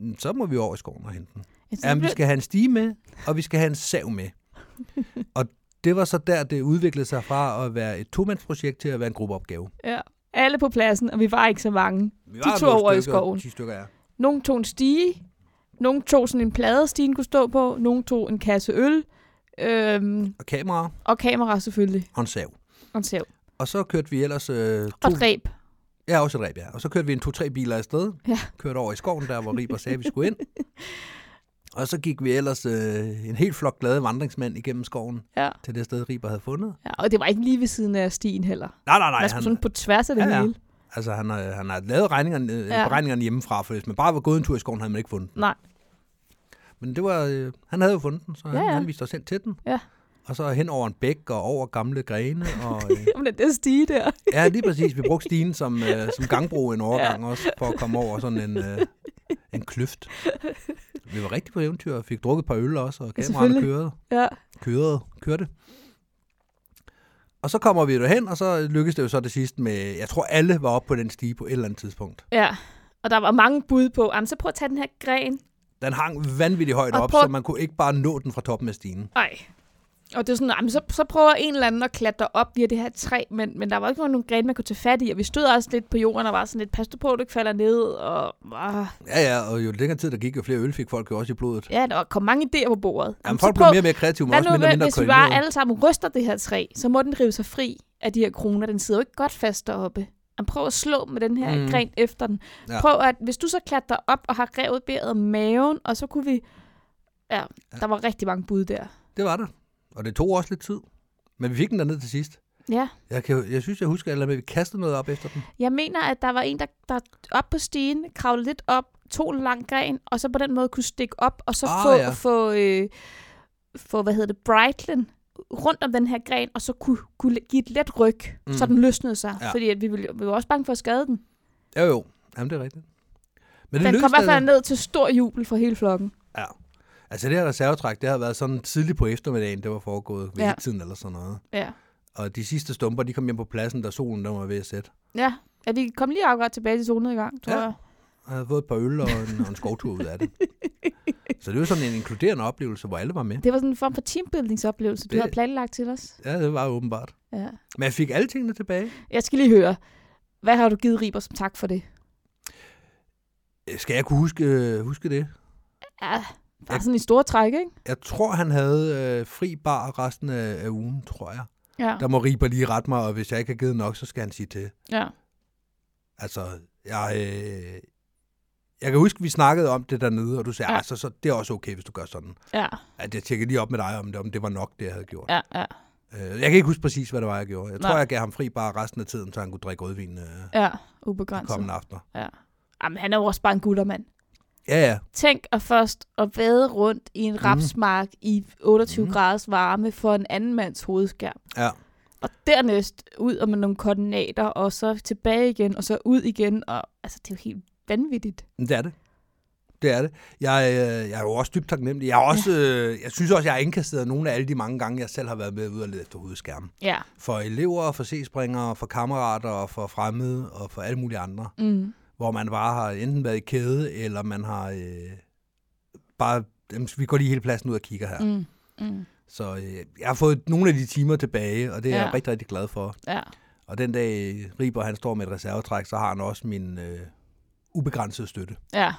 S2: Mm, Så må vi over i skoven og hente den.
S3: Jeg synes,
S2: Jamen, vi
S3: det-
S2: skal have en stige med, og vi skal have en sav med. og det var så der, det udviklede sig fra at være et tomandsprojekt til at være en gruppeopgave.
S3: ja. Alle på pladsen, og vi var ikke så mange.
S2: Vi
S3: De tog
S2: nogle
S3: over i
S2: stykker,
S3: skoven.
S2: 10 stykker, ja.
S3: Nogle tog en stige, nogle tog sådan en plade, stigen kunne stå på, nogle tog en kasse øl, øhm,
S2: Og kameraer
S3: og kamera selvfølgelig,
S2: og en sav.
S3: og en sav.
S2: Og så kørte vi ellers... Øh,
S3: Og dræb.
S2: Ja, også et ræb, ja. Og så kørte vi en to-tre biler afsted.
S3: Ja.
S2: Kørte over i skoven, der hvor Riber sagde, vi skulle ind. Og så gik vi ellers øh, en helt flok glade vandringsmænd igennem skoven
S3: Ja.
S2: til det sted, Riber havde fundet.
S3: ja. Og det var ikke lige ved siden af stien heller.
S2: Nej, nej, nej.
S3: Man skulle
S2: Han,
S3: sådan på tværs af det
S2: Ja, ja.
S3: hele.
S2: altså, han, har, han har lavet regningerne, øh,
S3: Ja.
S2: regningerne hjemmefra, for hvis man bare var gået en tur i skoven, havde man ikke fundet den.
S3: Nej.
S2: Men det var, øh, han havde jo fundet den, så han,
S3: Ja, ja.
S2: han viste os selv til den.
S3: Ja.
S2: Og så hen over en bæk og over gamle grene. Og, øh,
S3: Jamen, den der stige der.
S2: ja, lige præcis. Vi brugte stigen som, øh, som gangbro en overgang ja. også, for at komme over sådan en, øh, en kløft. Vi var rigtig på eventyr og fik drukket et par øl også, og
S3: Ja,
S2: kameraerne
S3: selvfølgelig.
S2: kørte,
S3: Ja.
S2: kørte, kørte. Og så kommer vi derhen, og så lykkedes det jo så det sidste med, jeg tror alle var oppe på den stige på et eller andet tidspunkt.
S3: ja. Og der var mange bud på, jamen, så prøv at tage den her gren.
S2: Den hang vanvittigt højt
S3: Og
S2: op,
S3: prøv-
S2: så man kunne ikke bare nå den fra toppen af stigen.
S3: Nej. Og det er sådan, jamen, så, så prøver en eller anden at klatre op via det her træ, men, men der var ikke nogen gren, man kunne tage fat i, og vi stod også lidt på jorden og var sådan lidt, pas du på, du ikke falder ned, og ah,
S2: Ja, ja, og jo længere tid der gik, jo flere øl fik folk jo også i blodet.
S3: ja, der kom mange idéer på bordet.
S2: Jamen,
S3: så
S2: folk
S3: prøv-
S2: blev mere og mere kreative, men
S3: Hvad
S2: også
S3: nu,
S2: mindre og mindre
S3: hvis vi bare
S2: koordinerede.
S3: alle sammen ryster det her træ, så må den rive sig fri af de her kroner. Den sidder jo ikke godt fast deroppe. Han prøver at slå med den her
S2: Mm.
S3: mm. gren efter den.
S2: Ja.
S3: Ja. Prøv at, hvis du så klatrer op og har revet bæret af maven, og så kunne vi... Ja, der var rigtig mange bud der.
S2: Det var der. Og det tog også lidt tid. Men vi fik den derned til sidst.
S3: Ja,
S2: Jeg, kan, jeg synes, jeg husker, at jeg lavede med, at vi kastede noget op efter den.
S3: jeg mener, at der var en, der, der op på stigen, kravlede lidt op, tog en lang gren, og så på den måde kunne stikke op, og så
S2: Ah,
S3: få,
S2: ja.
S3: få, øh, få, hvad hedder det, Brightland rundt om den her gren, og så kunne, kunne give et let ryg, mm. så
S2: Mm.
S3: den løsnede sig.
S2: Ja.
S3: Ja. Fordi at vi, ville, vi var også bange for at skade den.
S2: Jo, jo. Jamen, det er rigtigt. Men det
S3: Den kom i
S2: lykkedes
S3: hvert fald
S2: altså.
S3: ned til stor jubel fra hele flokken.
S2: Ja. Altså, det her reservetræk, det har været sådan tidligt på eftermiddagen, det var foregået ved ja.
S3: Ja.
S2: tiden eller sådan noget.
S3: Ja.
S2: Og de sidste stumper, de kom hjem på pladsen, da solen der var ved at sætte.
S3: Ja, ja vi kom lige akkurat tilbage til solnedgang, tror
S2: Ja.
S3: ja. jeg.
S2: Og jeg havde fået et par øl og en, og en skovtur ud af det. Så det var sådan en inkluderende oplevelse, hvor alle var med.
S3: Det var sådan en form for teambuildingsoplevelse, du
S2: Det-
S3: det... havde planlagt til os.
S2: Ja, det var åbenbart.
S3: Ja.
S2: Men jeg fik alle tingene tilbage.
S3: Jeg skal lige høre, hvad har du givet Riber som tak for det?
S2: Øh, Skal jeg kunne huske, huske det?
S3: Ja, bare sådan i store træk, ikke?
S2: Jeg tror, han havde øh, fri bar resten af, af ugen, tror jeg.
S3: Ja.
S2: Der må Riber lige rette mig, og hvis jeg ikke har givet nok, så skal han sige til.
S3: ja.
S2: Altså, jeg, øh, jeg kan huske, vi snakkede om det dernede, og du sagde,
S3: Ja.
S2: ja. så, så det er også okay, hvis du gør sådan.
S3: Ja,
S2: At jeg tjekkede lige op med dig, om det, om det var nok, det jeg havde gjort. Ja.
S3: ja, ja.
S2: Øh, jeg kan ikke huske præcis, hvad det var, jeg gjorde. Jeg Nej. tror,
S3: Nej.
S2: jeg gav ham fri bare resten af tiden, så han kunne drikke rødvin øh,
S3: ja.
S2: de
S3: Ubegrænset.
S2: kommende aftener.
S3: Jamen, han er jo også bare en guttermand.
S2: Ja, ja.
S3: Tænk at først at vade rundt i en rapsmark i 28
S2: Mm.
S3: mm. graders varme for en anden mands hovedskærm.
S2: Ja.
S3: Og dernæst ud og med nogle koordinater, og så tilbage igen, og så ud igen. Og, altså, det er jo helt vanvittigt.
S2: Men Det er det. Det er det. Jeg, øh, jeg er jo også dybt taknemmelig. Jeg, er også, øh, jeg synes også, jeg har indkasseret nogle af alle de mange gange, jeg selv har været med ud og lede efter hovedskærmen.
S3: Ja.
S2: For elever, for sespringere, for kammerater og for fremmede og for alle mulige andre.
S3: Mm.
S2: Hvor man bare har enten været i kæde, eller man har øh, bare... Jamen, vi går lige hele pladsen ud og kigger her. Mm.
S3: Mm. Mm.
S2: Så øh, jeg har fået nogle af de timer tilbage, og det er ja.
S3: Ja.
S2: jeg rigtig, rigtig glad for.
S3: Ja.
S2: Og den dag øh, Riber han står med et reservetræk, så har han også min øh, ubegrænsede støtte.
S3: ja,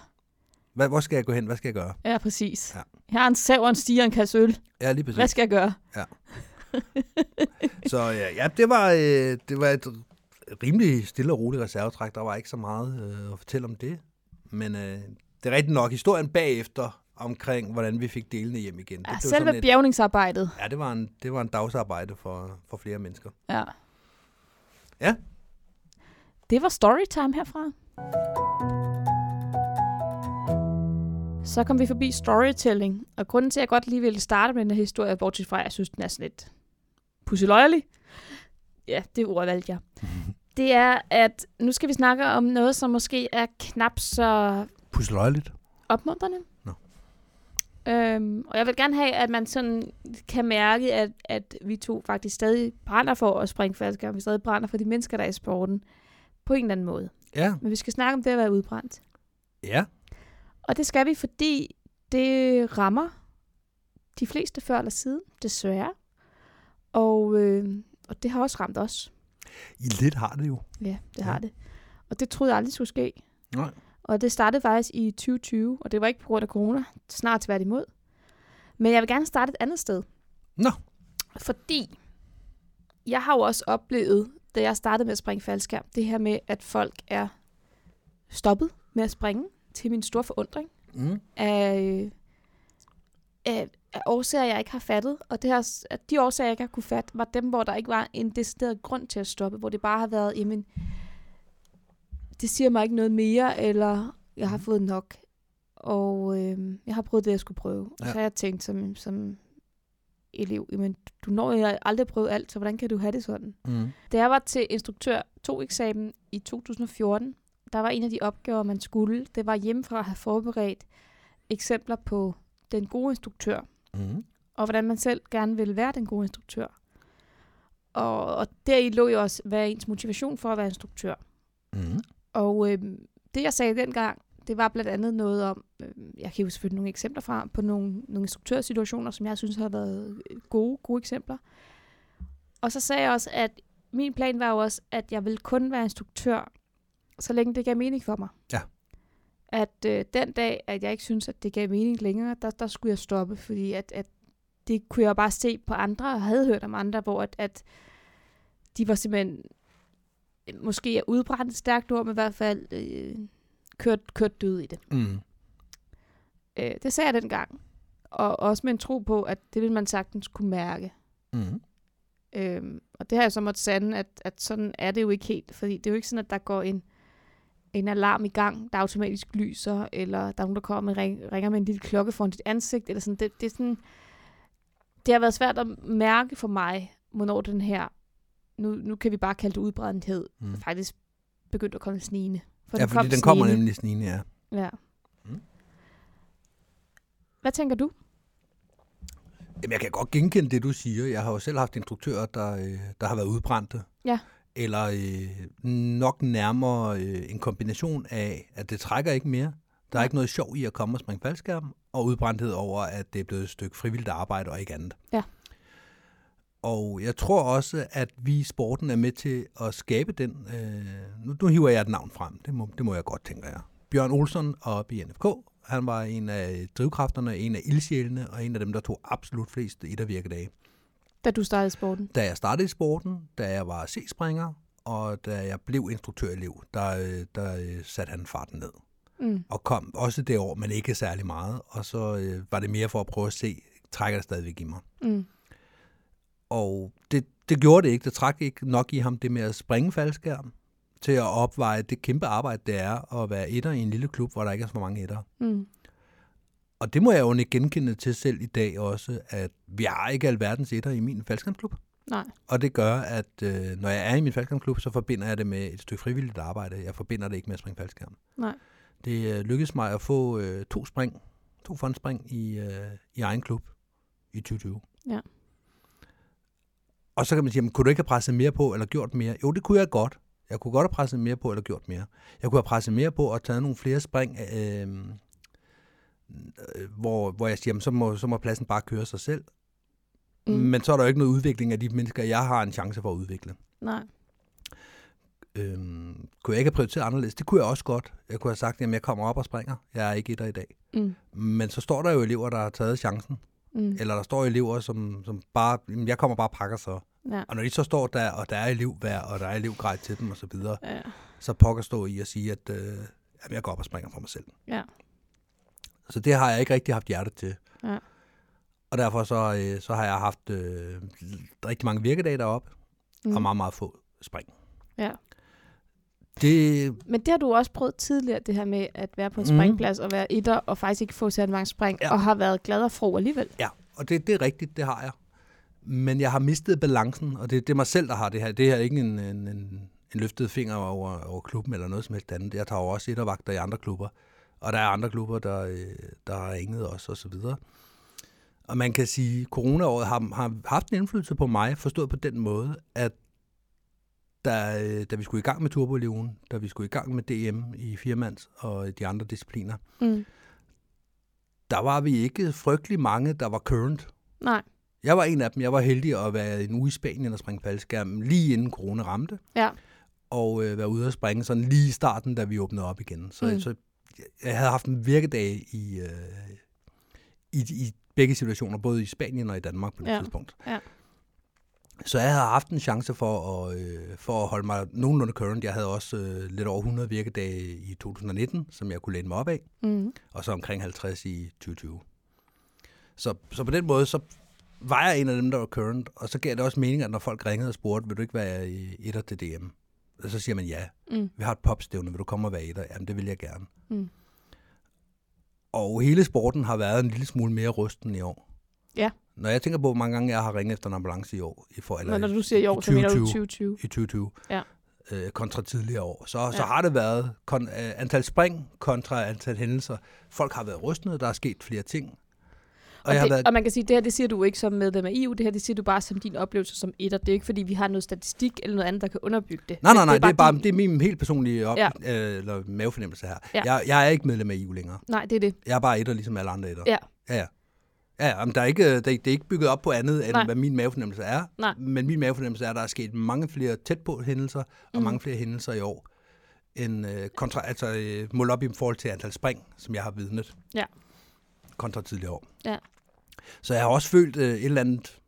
S2: Hvad, hvor skal jeg gå hen? Hvad skal jeg gøre?
S3: ja, præcis.
S2: Ja.
S3: Ja. Jeg har en sav og en stige og en kasse øl.
S2: Ja, lige præcis.
S3: Hvad skal jeg gøre?
S2: Så ja, ja det, var, øh, det var et rimelig stille og roligt reservetræk. Der var ikke så meget øh, at fortælle om det. Men øh, det er rigtigt nok. Historien bagefter omkring, hvordan vi fik delene hjem igen.
S3: Ja,
S2: blev
S3: selve
S2: sådan et-
S3: bjergningsarbejdet.
S2: Ja, det var en, det var en dagsarbejde for, for flere mennesker.
S3: Ja.
S2: Ja.
S3: Det var storytime herfra. Så kom vi forbi storytelling, og grunden til, at jeg godt lige ville starte med den her historie, bortset fra, at jeg synes, den er sådan lidt pusseløjelig. Ja, det ord valgte jeg. det er, at nu skal vi snakke om noget, som måske er knap så
S2: Pusseløjeligt.
S3: opmuntrende.
S2: Nå.
S3: Øhm, og jeg vil gerne have, at man sådan kan mærke, at, at vi to faktisk stadig brænder for at springe falske, og vi stadig brænder for de mennesker, der er i sporten, på en eller anden måde.
S2: Ja,
S3: Men vi skal snakke om det at være udbrændt.
S2: ja,
S3: Og det skal vi, fordi det rammer de fleste før eller siden, desværre. Og, øh, og det har også ramt os.
S2: I lidt har det jo.
S3: Ja, det
S2: Ja.
S3: har det. Og det troede jeg aldrig skulle ske.
S2: Nej.
S3: Og det startede faktisk i 2020, og det var ikke på grund af corona, snart tværtimod. Men jeg vil gerne starte et andet sted.
S2: Nå.
S3: Fordi jeg har jo også oplevet, da jeg startede med at springe faldskærm, det her med, at folk er stoppet med at springe til min store forundring
S2: Mm.
S3: af, øh, af, af årsager, jeg ikke har fattet. Og det her, s- at de årsager, jeg ikke har kunne fatte, var dem, hvor der ikke var en decideret grund til at stoppe. Hvor det bare har været, jamen, det siger mig ikke noget mere, eller jeg har fået nok. Og øh, jeg har prøvet det, jeg skulle prøve. Og
S2: Ja.
S3: så har jeg tænkt som, som elev, jamen, du når jo aldrig at prøve alt, så hvordan kan du have det sådan?
S2: Mm.
S3: Da jeg var til instruktør 2-eksamen i 2014, der var en af de opgaver, man skulle. Det var hjemmefra at have forberedt eksempler på den gode instruktør,
S2: Mm.
S3: og hvordan man selv gerne ville være den gode instruktør. Og, og deri lå jo også, hvad er ens motivation for at være instruktør.
S2: Mm.
S3: Og øh, det, jeg sagde dengang, det var blandt andet noget om, øh, jeg kan jo selvfølgelig nogle eksempler fra, på nogle, nogle instruktørsituationer, som jeg synes har været øh, gode, gode eksempler. Og så sagde jeg også, at min plan var jo også, at jeg ville kun være instruktør, så længe det gav mening for mig.
S2: Ja.
S3: At øh, den dag, at jeg ikke synes, at det gav mening længere, der, der skulle jeg stoppe, fordi at, at det kunne jeg bare se på andre, og havde hørt om andre, hvor at, at de var simpelthen måske er udbrændt et stærkt ord, men i hvert fald øh, kørt, kørt død i det.
S2: Mm.
S3: Øh, det sagde jeg dengang. Og også med en tro på, at det ville man sagtens kunne mærke.
S2: Mm.
S3: Øh, og det har jeg så måttet sande, at, at sådan er det jo ikke helt. Fordi det er jo ikke sådan, at der går en, en alarm i gang, der automatisk lyser, eller der er nogen, der kommer og ring, ringer med en lille klokke foran dit ansigt. Eller sådan. Det, det, er sådan, det har været svært at mærke for mig, hvornår den her, nu, nu kan vi bare kalde det udbrændthed,
S2: Mm.
S3: faktisk begyndt at komme snigende. For
S2: Ja, fordi den kommer
S3: snigende.
S2: nemlig snigende, ja.
S3: Ja.
S2: Mm.
S3: Hvad tænker du?
S2: Jamen, jeg kan godt genkende det, du siger. Jeg har jo selv haft instruktører, der, øh, der har været udbrændte.
S3: Ja.
S2: Eller øh, nok nærmere øh, en kombination af, at det trækker ikke mere. Der er ikke noget sjov i at komme og springe faldskærm, og udbrændthed over, at det er blevet et stykke frivilligt arbejde og ikke andet.
S3: Ja.
S2: Og jeg tror også, at vi i sporten er med til at skabe den. Øh, nu, nu hiver jeg et navn frem, det må, det må jeg godt, tænker jeg. Bjørn Olsen og BNFK. Han var en af drivkræfterne, en af ildsjælene, og en af dem, der tog absolut flest ettervirkedage.
S3: Da du startede sporten.
S2: Da jeg startede i sporten, da jeg var C-springer, og da jeg blev instruktørelev, der, øh, der øh, satte han farten ned.
S3: Mm.
S2: Og kom også det år, men ikke særlig meget. Og så øh, var det mere for at prøve at se, trækker det stadigvæk i mig.
S3: Mm.
S2: Og det, det gjorde det ikke. Det trak ikke nok i ham det med at springe faldskærm til at opveje det kæmpe arbejde, det er at være etter i en lille klub, hvor der ikke er så mange etter.
S3: Mm.
S2: Og det må jeg jo ikke genkende til selv i dag også, at vi har ikke alverdens etter i min faldskærmsklub.
S3: Nej.
S2: Og det gør, at øh, når jeg er i min faldskærmsklub, så forbinder jeg det med et stykke frivilligt arbejde. Jeg forbinder det ikke med at springe faldskærm.
S3: Nej.
S2: Det øh, lykkedes mig at få øh, to spring, to fondspring i, øh, i egen klub i 2020.
S3: Ja.
S2: Og så kan man sige, jamen, kunne du ikke have presset mere på eller gjort mere? Jo, det kunne jeg godt. Jeg kunne godt have presset mere på eller gjort mere. Jeg kunne have presset mere på og taget nogle flere spring, øh, øh, hvor, hvor jeg siger, jamen, så, må, så må pladsen bare køre sig selv. Mm. Men så er der jo ikke noget udvikling af de mennesker, jeg har en chance for at udvikle.
S3: Nej.
S2: Øhm, kunne jeg ikke have prioriteret anderledes? Det kunne jeg også godt. Jeg kunne have sagt, at jeg kommer op og springer. Jeg er ikke etter i dag.
S3: Mm.
S2: Men så står der jo elever, der har taget chancen.
S3: Mm.
S2: Eller der står elever, som, som bare, "Jamen, jeg kommer bare og pakker så.
S3: Ja.
S2: Og når de så står der, og der er elevvær, og der er elevgrej til dem osv., så,
S3: Ja.
S2: så pokker stå i at sige, at øh, jamen, jeg går op og springer for mig selv.
S3: Ja.
S2: Så det har jeg ikke rigtig haft hjerte til.
S3: Ja.
S2: Og derfor så, øh, så har jeg haft øh, rigtig mange virkedage deroppe, mm. og meget, meget få spring.
S3: Ja.
S2: Det,
S3: Men det har du også prøvet tidligere, det her med at være på en
S2: Mm.
S3: springplads og være etter, og faktisk ikke få særlig mange spring,
S2: Ja.
S3: og har været glad og fro alligevel.
S2: ja, og det, det er rigtigt, det har jeg. Men jeg har mistet balancen, og det, det er mig selv, der har det her. Det her er ikke en, en, en, en løftet finger over, over klubben eller noget som helst andet. Jeg tager jo også ettervagter i andre klubber, og der er andre klubber, der, øh, der har ringet os og så videre. Og man kan sige, at coronaåret har, har haft en indflydelse på mig, forstået på den måde, at da, øh, da vi skulle i gang med Turbo Leon, da vi skulle i gang med DM i firmands og de andre discipliner,
S3: Mm.
S2: der var vi ikke frygtelig mange, der var current.
S3: Nej.
S2: Jeg var en af dem. Jeg var heldig at være en uge i Spanien og springe faldskærmen lige inden corona ramte.
S3: Ja.
S2: Og øh, være ude og springe sådan lige i starten, da vi åbnede op igen. Så,
S3: Mm.
S2: mm. så jeg- jeg havde haft en virkedag i, øh, i, i begge situationer, både i Spanien og i Danmark på det
S3: Ja.
S2: ja. tidspunkt.
S3: Ja.
S2: Så jeg havde haft en chance for at, øh, for at holde mig nogenlunde current. Jeg havde også øh, lidt over 100 virkedage i 2019, som jeg kunne læne mig op af
S3: Mm.
S2: og så omkring 50 i 2020. Så, så på den måde, så var jeg en af dem, der var current, og så gav det også mening, at når folk ringede og spurgte, vil du ikke være i etter til DM? Og så siger man ja.
S3: Mm.
S2: Vi har et popstævne, vil du komme og være etter? Jamen, det vil jeg gerne.
S3: Mm.
S2: Og hele sporten har været en lille smule mere rusten i år.
S3: Ja.
S2: Når jeg tænker på, hvor mange gange jeg har ringet efter en ambulance i år, i for, eller
S3: Når, når du siger i år, så mener du 2020.
S2: i 2020
S3: Ja.
S2: øh, kontra tidligere år. Så, ja. så
S3: Ja.
S2: har det været kon, øh, antal spring kontra antal hændelser. Folk har været rystende, der er sket flere ting. Og,
S3: Og, og,
S2: jeg har
S3: det,
S2: været,
S3: og man kan sige, at det her det siger du ikke som medlem af EU, det her det siger du bare som din oplevelse som etter. Det er ikke, fordi vi har noget statistik eller noget andet, der kan underbygge det.
S2: nej, nej, nej, det er, bare,
S3: din-
S2: det er min helt personlige op,
S3: Ja.
S2: ja. øh, eller mavefornemmelse her.
S3: Ja.
S2: Ja. Jeg, jeg er ikke medlem af EU længere.
S3: Nej, det er det.
S2: Jeg er bare etter, ligesom alle andre etter.
S3: Ja.
S2: Ja, ja. ja, ja men der er ikke, øh, det, er- det er ikke bygget op på andet, end
S3: Nej.
S2: nej. hvad min mavefornemmelse er.
S3: Nej.
S2: Men min mavefornemmelse er, at der er sket mange flere tæt på hændelser, og
S3: Mm.
S2: mange flere hændelser i år, end øh, kontra, altså øh, målt op i forhold til antal spring, som jeg har vidnet.
S3: Ja.
S2: Kontra tidligere år.
S3: Ja.
S2: Så jeg har også følt øh, et eller andet,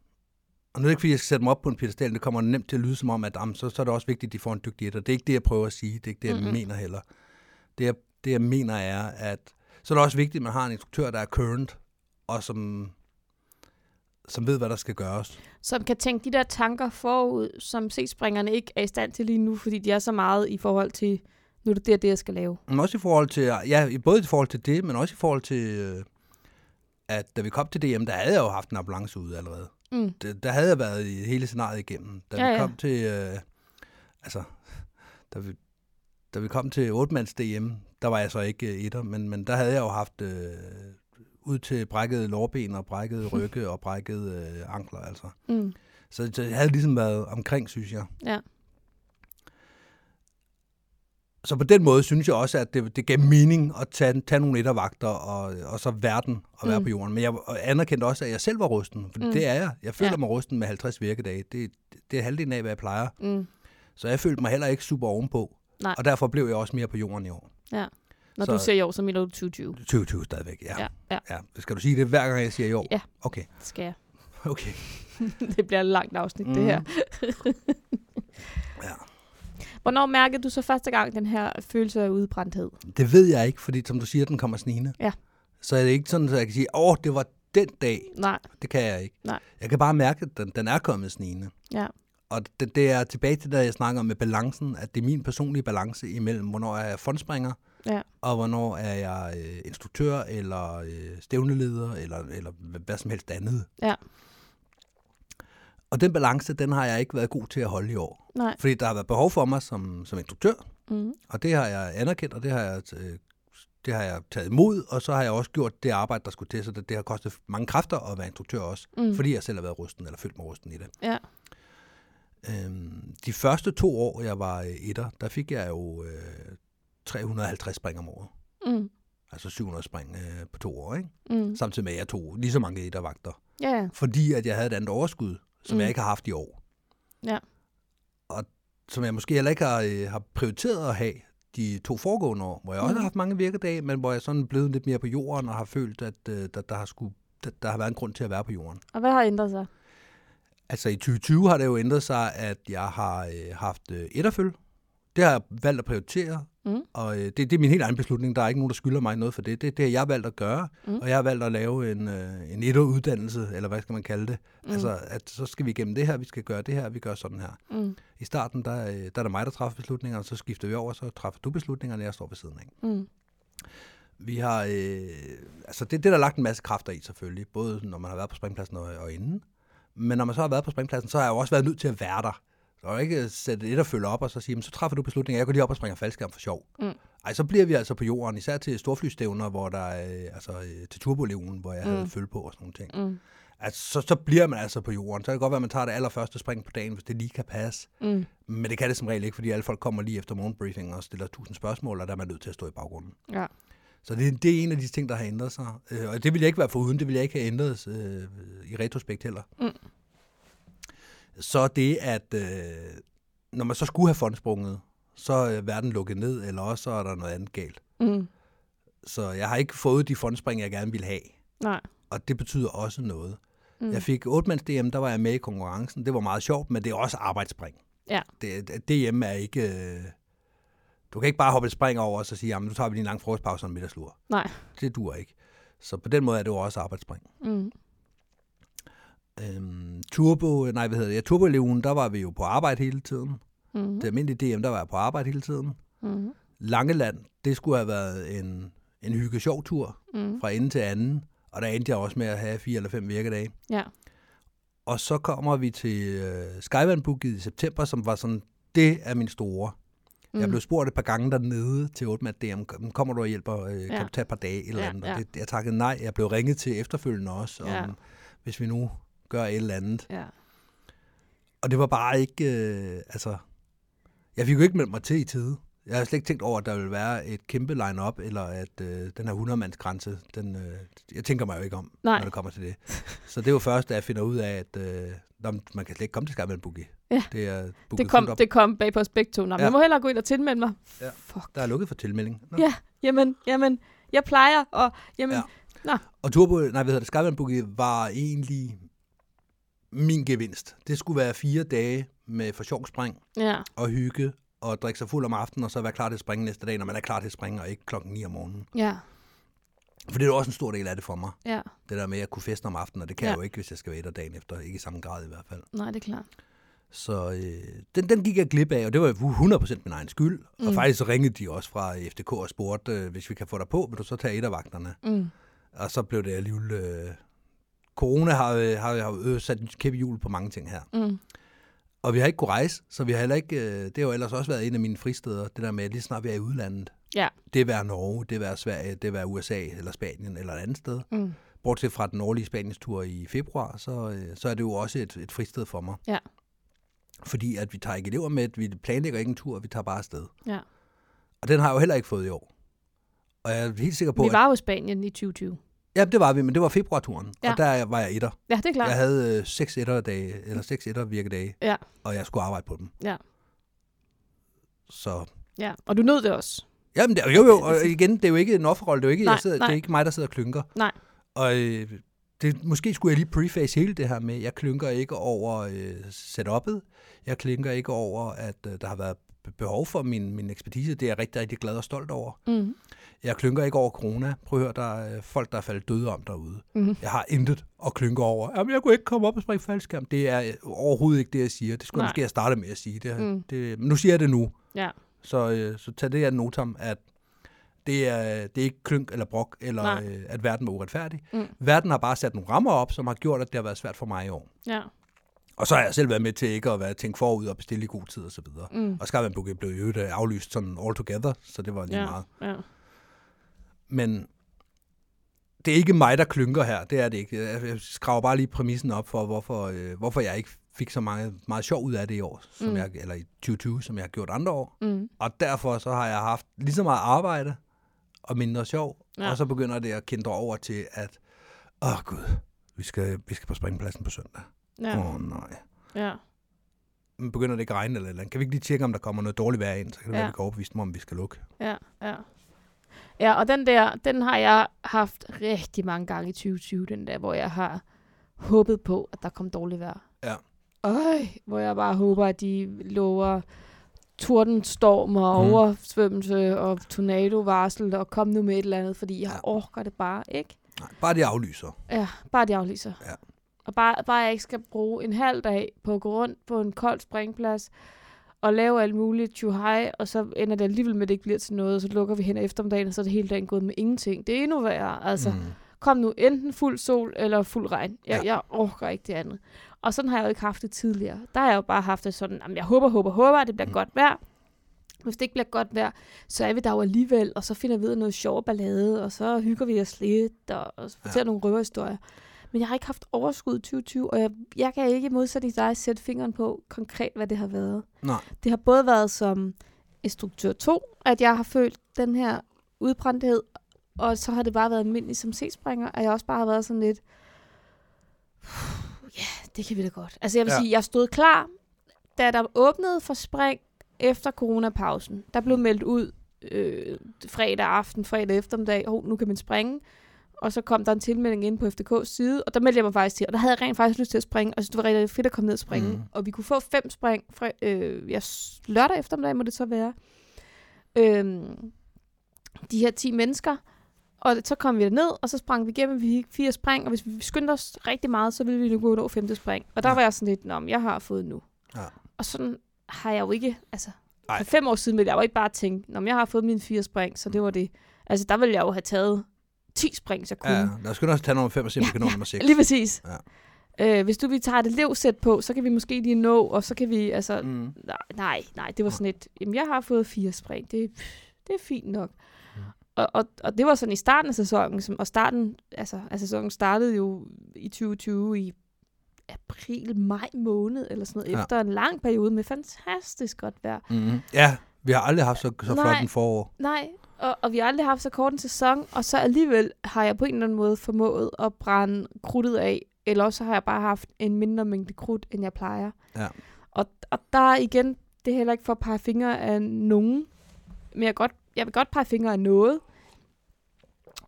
S2: og nu er det ikke, fordi jeg skal sætte mig op på en pedestal, det kommer nemt til at lyde som om, at jamen, så, så er det også vigtigt, at de får en dygtig etter. Det er ikke det, jeg prøver at sige, det er ikke det, jeg
S3: Mm-mm.
S2: mm-hmm. mener heller. Det jeg, det, jeg mener er, at så er det også vigtigt, at man har en instruktør, der er current, og som, som ved, hvad der skal gøres.
S3: Som kan tænke de der tanker forud, som C-springerne ikke er i stand til lige nu, fordi de er så meget i forhold til, nu er det der, det jeg skal lave.
S2: Men også i forhold til, ja, i- både i forhold til det, men også i forhold til, øh, at da vi kom til DM, der havde jeg jo haft en ambulance ude allerede.
S3: Mm.
S2: Der, der havde jeg været i hele scenariet igennem. Da
S3: Ja,
S2: vi
S3: ja.
S2: kom til, øh, altså, da vi, da vi kom til 8-mands DM, der var jeg så ikke øh, etter, men, men der havde jeg jo haft øh, ud til brækket lårben og brækket rygge og brækket øh, ankler, altså.
S3: Mm.
S2: Så, så jeg havde ligesom været omkring, synes jeg.
S3: Ja.
S2: Så på den måde synes jeg også, at det, det gav mening at tage, tage nogle ettervagter og, og så verden og være
S3: Mm.
S2: mm. på jorden. Men jeg anerkendte også, at jeg selv var rusten, for
S3: Mm.
S2: mm. det er jeg. Jeg føler
S3: Ja.
S2: ja. mig rusten med 50 virkedage. Det, det er halvdelen af, hvad jeg plejer.
S3: Mm.
S2: Så jeg følte mig heller ikke super ovenpå.
S3: Nej.
S2: Og derfor blev jeg også mere på jorden i år.
S3: Når så...
S2: Så-
S3: du siger i år, så mener du 2020.
S2: 2020 stadigvæk, ja.
S3: Ja, ja.
S2: ja. Skal du sige det hver gang, jeg siger i år?
S3: Ja.
S2: Okay,
S3: Det skal jeg.
S2: okay.
S3: det bliver et langt afsnit, mm. det
S2: Mm.
S3: her.
S2: Ja.
S3: Hvornår mærkede du så første gang den her følelse af udbrændthed?
S2: Det ved jeg ikke, fordi som du siger, den kommer snigende.
S3: Ja.
S2: Så er det ikke sådan, at jeg kan sige, åh, det var den dag.
S3: Nej,
S2: Det kan jeg ikke.
S3: Nej.
S2: Jeg kan bare mærke, at den, den er kommet snigende.
S3: ja.
S2: Og det, det er tilbage til det, jeg snakker om med balancen, at det er min personlige balance imellem, hvornår er jeg fondspringer,
S3: Ja.
S2: og hvornår er jeg øh, instruktør, eller øh, stævneleder, eller, eller hva- hvad som helst andet.
S3: Ja.
S2: Og den balance, den har jeg ikke været god til at holde i år.
S3: Nej.
S2: Fordi der har været behov for mig som, som instruktør,
S3: Mm.
S2: og det har jeg anerkendt, og det har jeg, øh, det har jeg taget imod, og så har jeg også gjort det arbejde, der skulle til, så det, det har kostet mange kræfter at være instruktør også,
S3: Mm.
S2: mm. fordi jeg selv har været rusten, eller følt mig rusten i det.
S3: Ja.
S2: Øhm, de første to år, jeg var øh, etter, der fik jeg jo øh, 350 spring om året.
S3: Mm.
S2: Altså 700 spring øh, på to år, ikke?
S3: Mm.
S2: Samtidig med, at jeg tog lige så mange ettervagter.
S3: Ja, ja.
S2: Fordi at jeg havde et andet overskud, som
S3: Mm.
S2: mm. jeg ikke har haft i år.
S3: Ja.
S2: Og som jeg måske heller ikke har, øh, har prioriteret at have de to foregående år, hvor jeg også
S3: Mm.
S2: har haft mange virkedage, men hvor jeg sådan er blevet lidt mere på jorden og har følt, at øh, der, der, har skulle, der, der har været en grund til at være på jorden.
S3: Og hvad har ændret sig?
S2: Altså i 2020 har det jo ændret sig, at jeg har øh, haft øh, etterføl. Det har jeg valgt at prioritere,
S3: Mm.
S2: og øh, det, det er min helt egen beslutning. Der er ikke nogen, der skylder mig noget for det. Det, det har jeg valgt at gøre,
S3: Mm.
S2: mm. og jeg har valgt at lave en, øh, en etteruddannelse, eller hvad skal man kalde det. Mm. Altså, at så skal vi igennem det her, vi skal gøre det her, vi gør sådan her.
S3: Mm.
S2: I starten, der, øh, der er det mig, der træffer beslutningerne, så skifter vi over, så træffer du beslutningerne, og jeg står ved siden af.
S3: Mm.
S2: Vi har, øh, altså det, det er der lagt en masse kræfter i selvfølgelig, både når man har været på springpladsen og, og inden. Men når man så har været på springpladsen, så har jeg jo også været nødt til at være der. Så er der ikke øh, sætte et og følge op og så sige, "Men så træffer du beslutningen, jeg går lige op og springer faldskærm for sjov.
S3: Mm.
S2: Ej, så bliver vi altså på jorden, især til storflystævner, hvor der, øh, altså øh, til turboleven, hvor jeg mm. havde følge på og sådan nogle ting.
S3: Mm.
S2: Altså, så, så bliver man altså på jorden. Så kan det godt være, at man tager det allerførste spring på dagen, hvis det lige kan passe.
S3: Mm.
S2: Men det kan det som regel ikke, fordi alle folk kommer lige efter morgenbriefing og stiller tusind spørgsmål, og der er man nødt til at stå i baggrunden.
S3: Ja.
S2: Så det, det er en af de ting, der har ændret sig. Øh, og det ville jeg ikke være foruden, det ville jeg ikke have ændret øh, i retrospekt heller.
S3: Mm.
S2: Så det, at øh, når man så skulle have fondsprunget, så er verden lukket ned, eller også så er der noget andet galt.
S3: Mm.
S2: Så jeg har ikke fået de fondspring, jeg gerne ville have.
S3: Nej.
S2: Og det betyder også noget.
S3: Mm.
S2: Mm. Jeg fik 8-mands-DM, der var jeg med i konkurrencen. Det var meget sjovt, men det er også arbejdsspring.
S3: Ja.
S2: Det, det- DM er ikke... Øh, du kan ikke bare hoppe et spring over og så sige, jamen nu tager vi lige en lang frokostpause og en middagslur.
S3: Nej.
S2: Det dur ikke. Så på den måde er det jo også arbejdsspring.
S3: Mm.
S2: Øhm, turbo, nej hvad hedder det, ja, turbo der var vi jo på arbejde hele tiden.
S3: Mm.
S2: Det almindelige DM, der var jeg på arbejde hele tiden.
S3: Mm.
S2: Langeland, det skulle have været en, en hygge-sjov tur
S3: Mm.
S2: fra ende til anden. Og der endte jeg også med at have fire eller fem virkedage.
S3: Ja.
S2: Og så kommer vi til øh, Skyvandbooket i september, som var sådan, det er min store. Mm. Jeg blev spurgt et par gange dernede til 8 DM, "Kom- kommer du og hjælper, øh, kan
S3: Ja.
S2: du tage et par dage eller
S3: Ja,
S2: ja, andet. Og
S3: ja.
S2: Det, jeg takkede nej, jeg blev ringet til efterfølgende også, om,
S3: Ja.
S2: ja. hvis vi nu gør et eller andet.
S3: Ja.
S2: Og det var bare ikke, øh, altså, jeg fik jo ikke meldt mig til i tide. Jeg havde slet ikke tænkt over, at der ville være et kæmpe line-up, eller at øh, den her 100-mandsgrænse, den, øh, jeg tænker mig jo ikke om,
S3: Nej.
S2: når det kommer til det. Så det var først, da jeg finder ud af, at øh, nå, men man kan slet ikke komme til Skyman Boogie.
S3: Ja.
S2: Det er booket
S3: Det, kom,
S2: fuldt op.
S3: det kom bag på os begge to. Nå, ja.
S2: Ja.
S3: Jeg må hellere gå ind og tilmelde mig.
S2: Ja.
S3: Fuck.
S2: Der er lukket for tilmelding. Nå.
S3: Ja, jamen, jamen, jeg plejer, og jamen, ja.
S2: Ja. Og Turbo, nej, hvad hedder det, Skyman Boogie var egentlig min gevinst. Det skulle være fire dage med for sjov spring
S3: ja.
S2: og hygge og drikke sig fuld om aftenen, og så være klar til at springe næste dag, når man er klar til at springe, og ikke klokken 9 om morgenen.
S3: Ja,
S2: For det er jo også en stor del af det for mig,
S3: ja.
S2: det der med, at jeg kunne feste om aftenen, og det kan ja.
S3: Ja.
S2: jeg jo ikke, hvis jeg skal være et dagen efter, ikke i samme grad i hvert fald.
S3: Nej, det er klart.
S2: Så øh, den, den gik jeg glip af, og det var jo 100% min egen skyld. Mm.
S3: Mm.
S2: Og faktisk så ringede de også fra FDK og spurgte, øh, hvis vi kan få dig på, vil du så tage et af vagterne?
S3: Mm.
S2: Og så blev det alligevel... Øh, corona har, øh, har, har jo øh, sat en kæppe hjul på mange ting her.
S3: Mm.
S2: Og vi har ikke kunne rejse, så vi har heller ikke... Øh, det har jo ellers også været en af mine fristeder, det der med, at lige snart vi er i udlandet.
S3: Ja.
S2: Det være Norge, det være Sverige, det være USA eller Spanien eller et andet sted.
S3: Mm.
S2: Bortset fra den årlige Spaniens tur i februar, så, øh, så er det jo også et, et fristed for mig.
S3: Ja.
S2: Fordi at vi tager ikke elever med, vi planlægger ikke en tur, vi tager bare afsted.
S3: Ja.
S2: Og den har jeg jo heller ikke fået i år. Og jeg er helt sikker på,
S3: Vi
S2: at
S3: var jo i Spanien i 2020.
S2: Ja, det var vi, men det var februarturen,
S3: Ja.
S2: ja. og der var jeg etter.
S3: Ja, det er klart.
S2: Jeg havde øh, seks etter dage, eller seks etter virkedage,
S3: Ja.
S2: og jeg skulle arbejde på dem.
S3: Ja.
S2: Så,
S3: ja. Og du nød det også.
S2: jamen det, jo jo, og igen, det er jo ikke en offerrolle, det er jo ikke,
S3: Nej,
S2: jeg sidder,
S3: nej.
S2: det er ikke mig, der sidder og klynker.
S3: Nej.
S2: Og øh, det, måske skulle jeg lige preface hele det her med, jeg klynker ikke over øh, setup'et, jeg klynker ikke over, at øh, der har været behov for min, min ekspertise, det er jeg rigtig, rigtig glad og stolt over.
S3: Mm.
S2: Jeg klynker ikke over corona. Prøv at høre, der er øh, folk, der er faldet døde om derude.
S3: Mhm.
S2: Jeg har intet at klynke over. Jamen, jeg kunne ikke komme op og springe faldskærm. Det er øh, overhovedet ikke det, jeg siger. Det skulle
S3: Nej.
S2: jeg måske have startet med at sige. Det,
S3: Mm.
S2: mm. det, men nu siger jeg det nu.
S3: Ja.
S2: Så, øh, så tag det her notam, at det er, det er ikke klynk eller brok, eller
S3: Nej.
S2: øh, at verden var uretfærdig.
S3: Mm.
S2: Verden har bare sat nogle rammer op, som har gjort, at det har været svært for mig i år.
S3: Ja.
S2: Og så har jeg selv været med til ikke at være tænke forud og bestille i god tid osv. Og,
S3: Mm.
S2: mm. og Skarvanbukket blev i øvrigt øh, aflyst sådan all together, så det var lige
S3: Ja.
S2: meget.
S3: Ja.
S2: Men det er ikke mig, der klynker her. Det er det ikke. Jeg jeg skraver bare lige præmissen op for, hvorfor, øh, hvorfor jeg ikke fik så mange, meget sjov ud af det i år, som
S3: Mm.
S2: mm. jeg, eller i 2020, som jeg har gjort andre år.
S3: Mm.
S2: Og derfor så har jeg haft lige så meget arbejde og mindre sjov.
S3: Ja.
S2: Ja. Og så begynder det at kendre over til, at åh gud, vi skal, vi skal på springpladsen på søndag.
S3: Ja.
S2: Åh oh, nej.
S3: Ja.
S2: Men begynder det ikke at regne eller, et eller andet? Kan vi ikke lige tjekke, om der kommer noget dårligt vejr ind? Så kan det
S3: Ja.
S2: være, vi kan overbevise dem om, vi skal lukke.
S3: Ja. Ja. Ja, og den der, den har jeg haft rigtig mange gange i 2020, den der, hvor jeg har håbet på, at der kom dårligt vejr.
S2: Ja.
S3: Øj, hvor jeg bare håber, at de lover tordenstorm og
S2: Mm.
S3: oversvømmelse og tornadovarsel og kom nu med et eller andet, fordi jeg
S2: Ja.
S3: orker det bare ikke.
S2: Nej, bare de aflyser.
S3: Ja, bare de aflyser.
S2: Ja.
S3: Og bare, bare jeg ikke skal bruge en halv dag på at gå rundt på en kold springplads og lave alt muligt tjuhej, og så ender det alligevel med, at det ikke bliver til noget, og så lukker vi hen ad eftermiddagen, og så er det hele dagen gået med ingenting. Det er endnu værre. Altså, mm.
S2: Mm.
S3: kom nu enten fuld sol eller fuld regn. Jeg, ja.
S2: Ja.
S3: jeg orker ikke det andet. Og sådan har jeg jo ikke haft det tidligere. Der har jeg jo bare haft det sådan, jamen, jeg håber, håber, håber, at det bliver mm. godt vejr. Hvis det ikke bliver godt vejr, så er vi der jo alligevel, og så finder vi ud af noget sjov ballade, og så hygger vi os lidt, og, og så fortæller ja. nogle røverhistorier. Men jeg har ikke haft overskud i 2020, og jeg, jeg kan ikke modsat i dig sætte fingeren på konkret, hvad det har været.
S2: Nej.
S3: Det har både været som instruktør 2, at jeg har følt den her udbrændthed, og så har det bare været almindeligt som C-springer, at jeg også bare har været sådan lidt, ja, det kan vi da godt. Altså jeg vil
S2: Ja.
S3: ja. sige, jeg stod klar, da der åbnede for spring efter coronapausen. Der blev meldt ud øh, fredag aften, fredag eftermiddag, oh, nu kan man springe. Og så kom der en tilmelding ind på FDK's side, og der meldte jeg mig faktisk til. Og der havde jeg rent faktisk lyst til at springe, og jeg synes, det var rigtig fedt at komme ned og springe.
S2: Mhm.
S3: Mm. Og vi kunne få fem spring, fra, øh, ja, s- lørdag eftermiddag må det så være. Øhm, de her 10 mennesker, og så kom vi ned, og så sprang vi igennem, vi fik fire spring, og hvis vi skyndte os rigtig meget, så ville vi nu kunne nå femte spring. Og der
S2: Ja.
S3: ja. var jeg sådan lidt, nå, men jeg har fået nu.
S2: Ja.
S3: Og sådan har jeg jo ikke, altså,
S2: Ej.
S3: for fem år siden ville jeg jo ikke bare tænke, nå, men jeg har fået mine fire spring, så det var det. Altså, der ville jeg jo have taget 10 spring, så kunne.
S2: Ja, lad os skynde os at tage nummer 5 og se, om vi kan nå nummer 6.
S3: Lige præcis.
S2: Ja.
S3: Øh, hvis du vi tager et elevsæt på, så kan vi måske lige nå, og så kan vi, altså,
S2: Mm.
S3: nej, nej, nej, det var sådan et, jamen jeg har fået fire spring, det, det er fint nok. Og, og, og det var sådan i starten af sæsonen, som, og starten, altså, af sæsonen startede jo i 2020 i april, maj måned, eller sådan noget,
S2: Ja.
S3: ja. efter en lang periode med fantastisk godt vejr.
S2: Mm. Ja, vi har aldrig haft så, så
S3: Nej.
S2: flot en forår.
S3: Nej, og, og vi har aldrig haft så kort en sæson, og så alligevel har jeg på en eller anden måde formået at brænde krudtet af, eller også har jeg bare haft en mindre mængde krudt, end jeg plejer.
S2: Ja.
S3: Og, og der er igen, det er heller ikke for at pege fingre af nogen, men jeg, godt, jeg vil godt pege fingre af noget.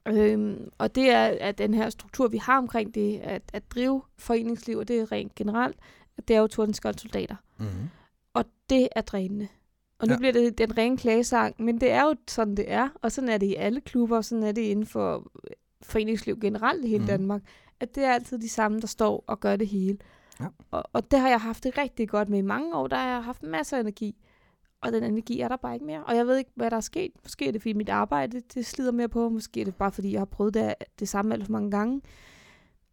S3: Øhm, og det er at den her struktur, vi har omkring det, at, at drive foreningsliv, og det er rent generelt, at det er jo soldater.
S2: Mm.
S3: Og det er drænende. Og nu
S2: Ja.
S3: ja. bliver det den rene klagesang, men det er jo sådan, det er. Og sådan er det i alle klubber, og sådan er det inden for øh, foreningsliv generelt i hele
S2: Mhm.
S3: mm. Danmark. At det er altid de samme, der står og gør det hele.
S2: Ja.
S3: Og, og det har jeg haft det rigtig godt med i mange år. Der har jeg haft masser af energi. Og den energi er der bare ikke mere. Og jeg ved ikke, hvad der er sket. Måske er det fordi mit arbejde det slider mere på. Måske er det bare fordi, jeg har prøvet det, det samme alt for mange gange.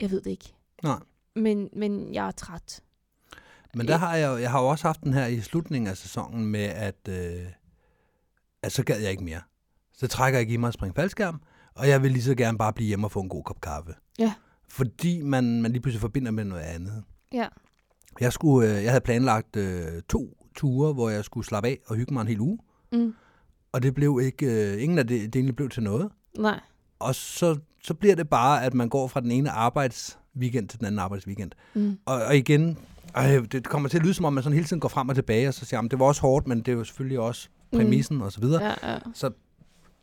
S3: Jeg ved det ikke.
S2: Nej.
S3: Men, men jeg er træt.
S2: Men der har jeg, jo- jeg har jo også haft den her i slutningen af sæsonen med, at, øh, at så gad jeg ikke mere. Så trækker jeg ikke i mig at springe faldskærm, og jeg vil lige så gerne bare blive hjemme og få en god kop kaffe.
S3: Ja.
S2: Fordi man, man lige pludselig forbinder med noget andet.
S3: Ja.
S2: Jeg, skulle, øh, jeg havde planlagt øh, to ture, hvor jeg skulle slappe af og hygge mig en hel uge,
S3: Mm.
S2: og det blev ikke, øh, ingen af det, delene blev til noget.
S3: Nej.
S2: Og så, så bliver det bare, at man går fra den ene arbejdsweekend til den anden arbejdsweekend.
S3: Mm.
S2: Og, og igen, øh, det kommer til at lyde som om, man sådan hele tiden går frem og tilbage, og så siger, "Jamen, det var også hårdt, men det er jo selvfølgelig også præmissen mm. og så videre. Ja.
S3: Ja, ja.
S2: Så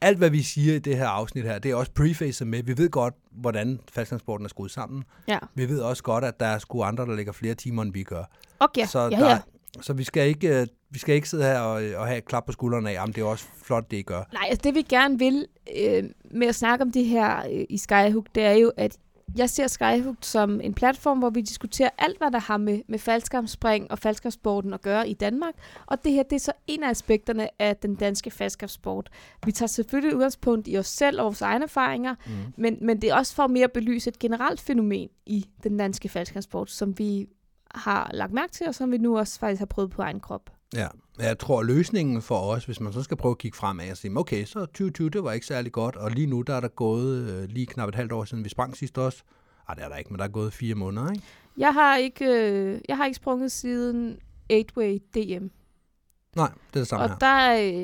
S2: alt, hvad vi siger i det her afsnit her, det er også prefacet med, vi ved godt, hvordan faldtransporten er skruet sammen.
S3: ja.
S2: Vi ved også godt, at der er sgu andre, der ligger flere timer, end vi gør.
S3: Og ja,
S2: så,
S3: ja,
S2: der,
S3: ja.
S2: så vi skal ikke... øh, Vi skal ikke sidde her og, øh, og have et klap på skuldrene af, om det er også flot, det I gør.
S3: Nej, altså det vi gerne vil øh, med at snakke om det her øh, i Skyhook, det er jo, at jeg ser Skyhook som en platform, hvor vi diskuterer alt, hvad der har med, med faldskabsspring og faldskabssporten at gøre i Danmark. Og det her, det er så en af aspekterne af den danske faldskabssport. Vi tager selvfølgelig udgangspunkt i os selv og vores egne erfaringer, mm. men, men det er også for mere at belyse et generelt fænomen i den danske faldskabssport, som vi har lagt mærke til, og som vi nu også faktisk har prøvet på egen krop.
S2: Ja, men jeg tror, løsningen for os, hvis man så skal prøve at kigge fremad og sige, okay, så 2020, det var ikke særlig godt, og lige nu, der er der gået øh, lige knap et halvt år siden, vi sprang sidst også. Ej, det er der ikke, men der er gået fire måneder, ikke?
S3: Jeg har ikke, øh, jeg har ikke sprunget siden 8-way DM.
S2: Nej, det er det samme
S3: og
S2: her.
S3: der, øh,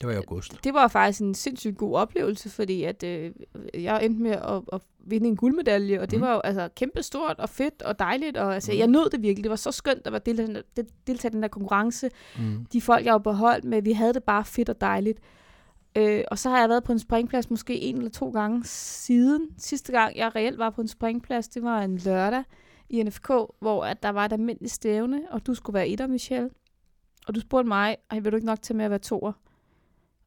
S2: Det var i august.
S3: det var faktisk en sindssygt god oplevelse, fordi at, øh, jeg endte med at, at vinde en guldmedalje, og det
S2: Mhm.
S3: mm. var jo altså, kæmpe stort og fedt og dejligt. Og, altså,
S2: Mhm.
S3: mm. Jeg nød det virkelig. Det var så skønt at være deltage, deltage i den der konkurrence.
S2: Mm.
S3: De folk, jeg var på hold med, vi havde det bare fedt og dejligt. Øh, og så har jeg været på en springplads måske en eller to gange siden. Sidste gang, jeg reelt var på en springplads, det var en lørdag i NFK, hvor at der var et almindeligt stævne, og du skulle være etter, Michelle. Og du spurgte mig, og vil du ikke nok til med at være toer?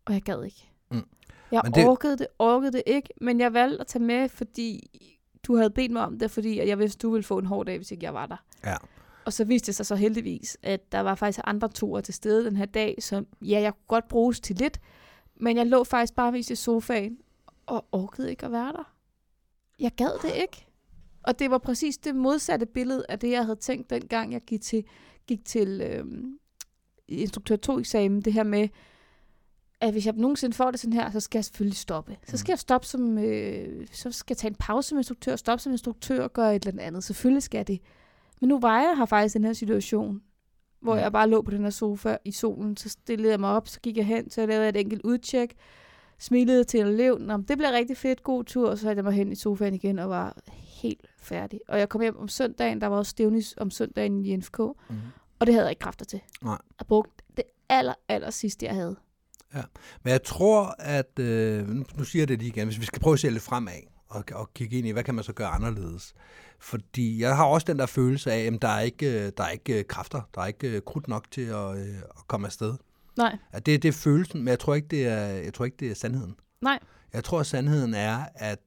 S3: Og jeg gad ikke.
S2: Mm.
S3: Jeg
S2: Men
S3: det...
S2: det-
S3: orkede det, orkede det ikke, men jeg valgte at tage med, fordi du havde bedt mig om det, fordi at jeg vidste, du ville få en hård dag, hvis ikke jeg var der.
S2: Ja.
S3: Og så viste det sig så heldigvis, at der var faktisk andre toer til stede den her dag, som ja, jeg kunne godt bruges til lidt, men jeg lå faktisk bare mest i sofaen og orkede ikke at være der. Jeg gad det ikke. Og det var præcis det modsatte billede af det, jeg havde tænkt dengang, jeg gik til, gik til øh, instruktør 2-eksamen. Det her med, at hvis jeg nogensinde får det sådan her, så skal jeg selvfølgelig stoppe. Så skal jeg stoppe som, øh, så skal jeg tage en pause som instruktør, stoppe som instruktør og gøre et eller andet. Selvfølgelig skal jeg det. Men nu var jeg her faktisk i den her situation, hvor jeg bare lå på den her sofa i solen, så stillede jeg mig op, så gik jeg hen, så lavede jeg et enkelt udtjek, smilede til en elev, Nå, men det blev rigtig fedt, god tur, og så satte jeg mig hen i sofaen igen og var helt færdig. Og jeg kom hjem om søndagen, der var også stævnis om søndagen i NFK, og
S2: Mm.
S3: det havde jeg ikke kræfter til.
S2: Nej.
S3: Jeg brugte det aller, aller sidste, jeg havde.
S2: Men jeg tror, at... Øh, nu- nu siger jeg det lige igen. Hvis vi skal prøve at se lidt fremad og, og kigge ind i, hvad kan man så gøre anderledes? Fordi jeg har også den der følelse af, at der er ikke, øh, der er ikke øh, kræfter, der er ikke øh, krudt nok til at, øh, at komme afsted.
S3: Nej,
S2: At det, det er følelsen, men jeg tror, ikke, det er, jeg tror ikke, det er sandheden.
S3: nej,
S2: Jeg tror, at sandheden er, at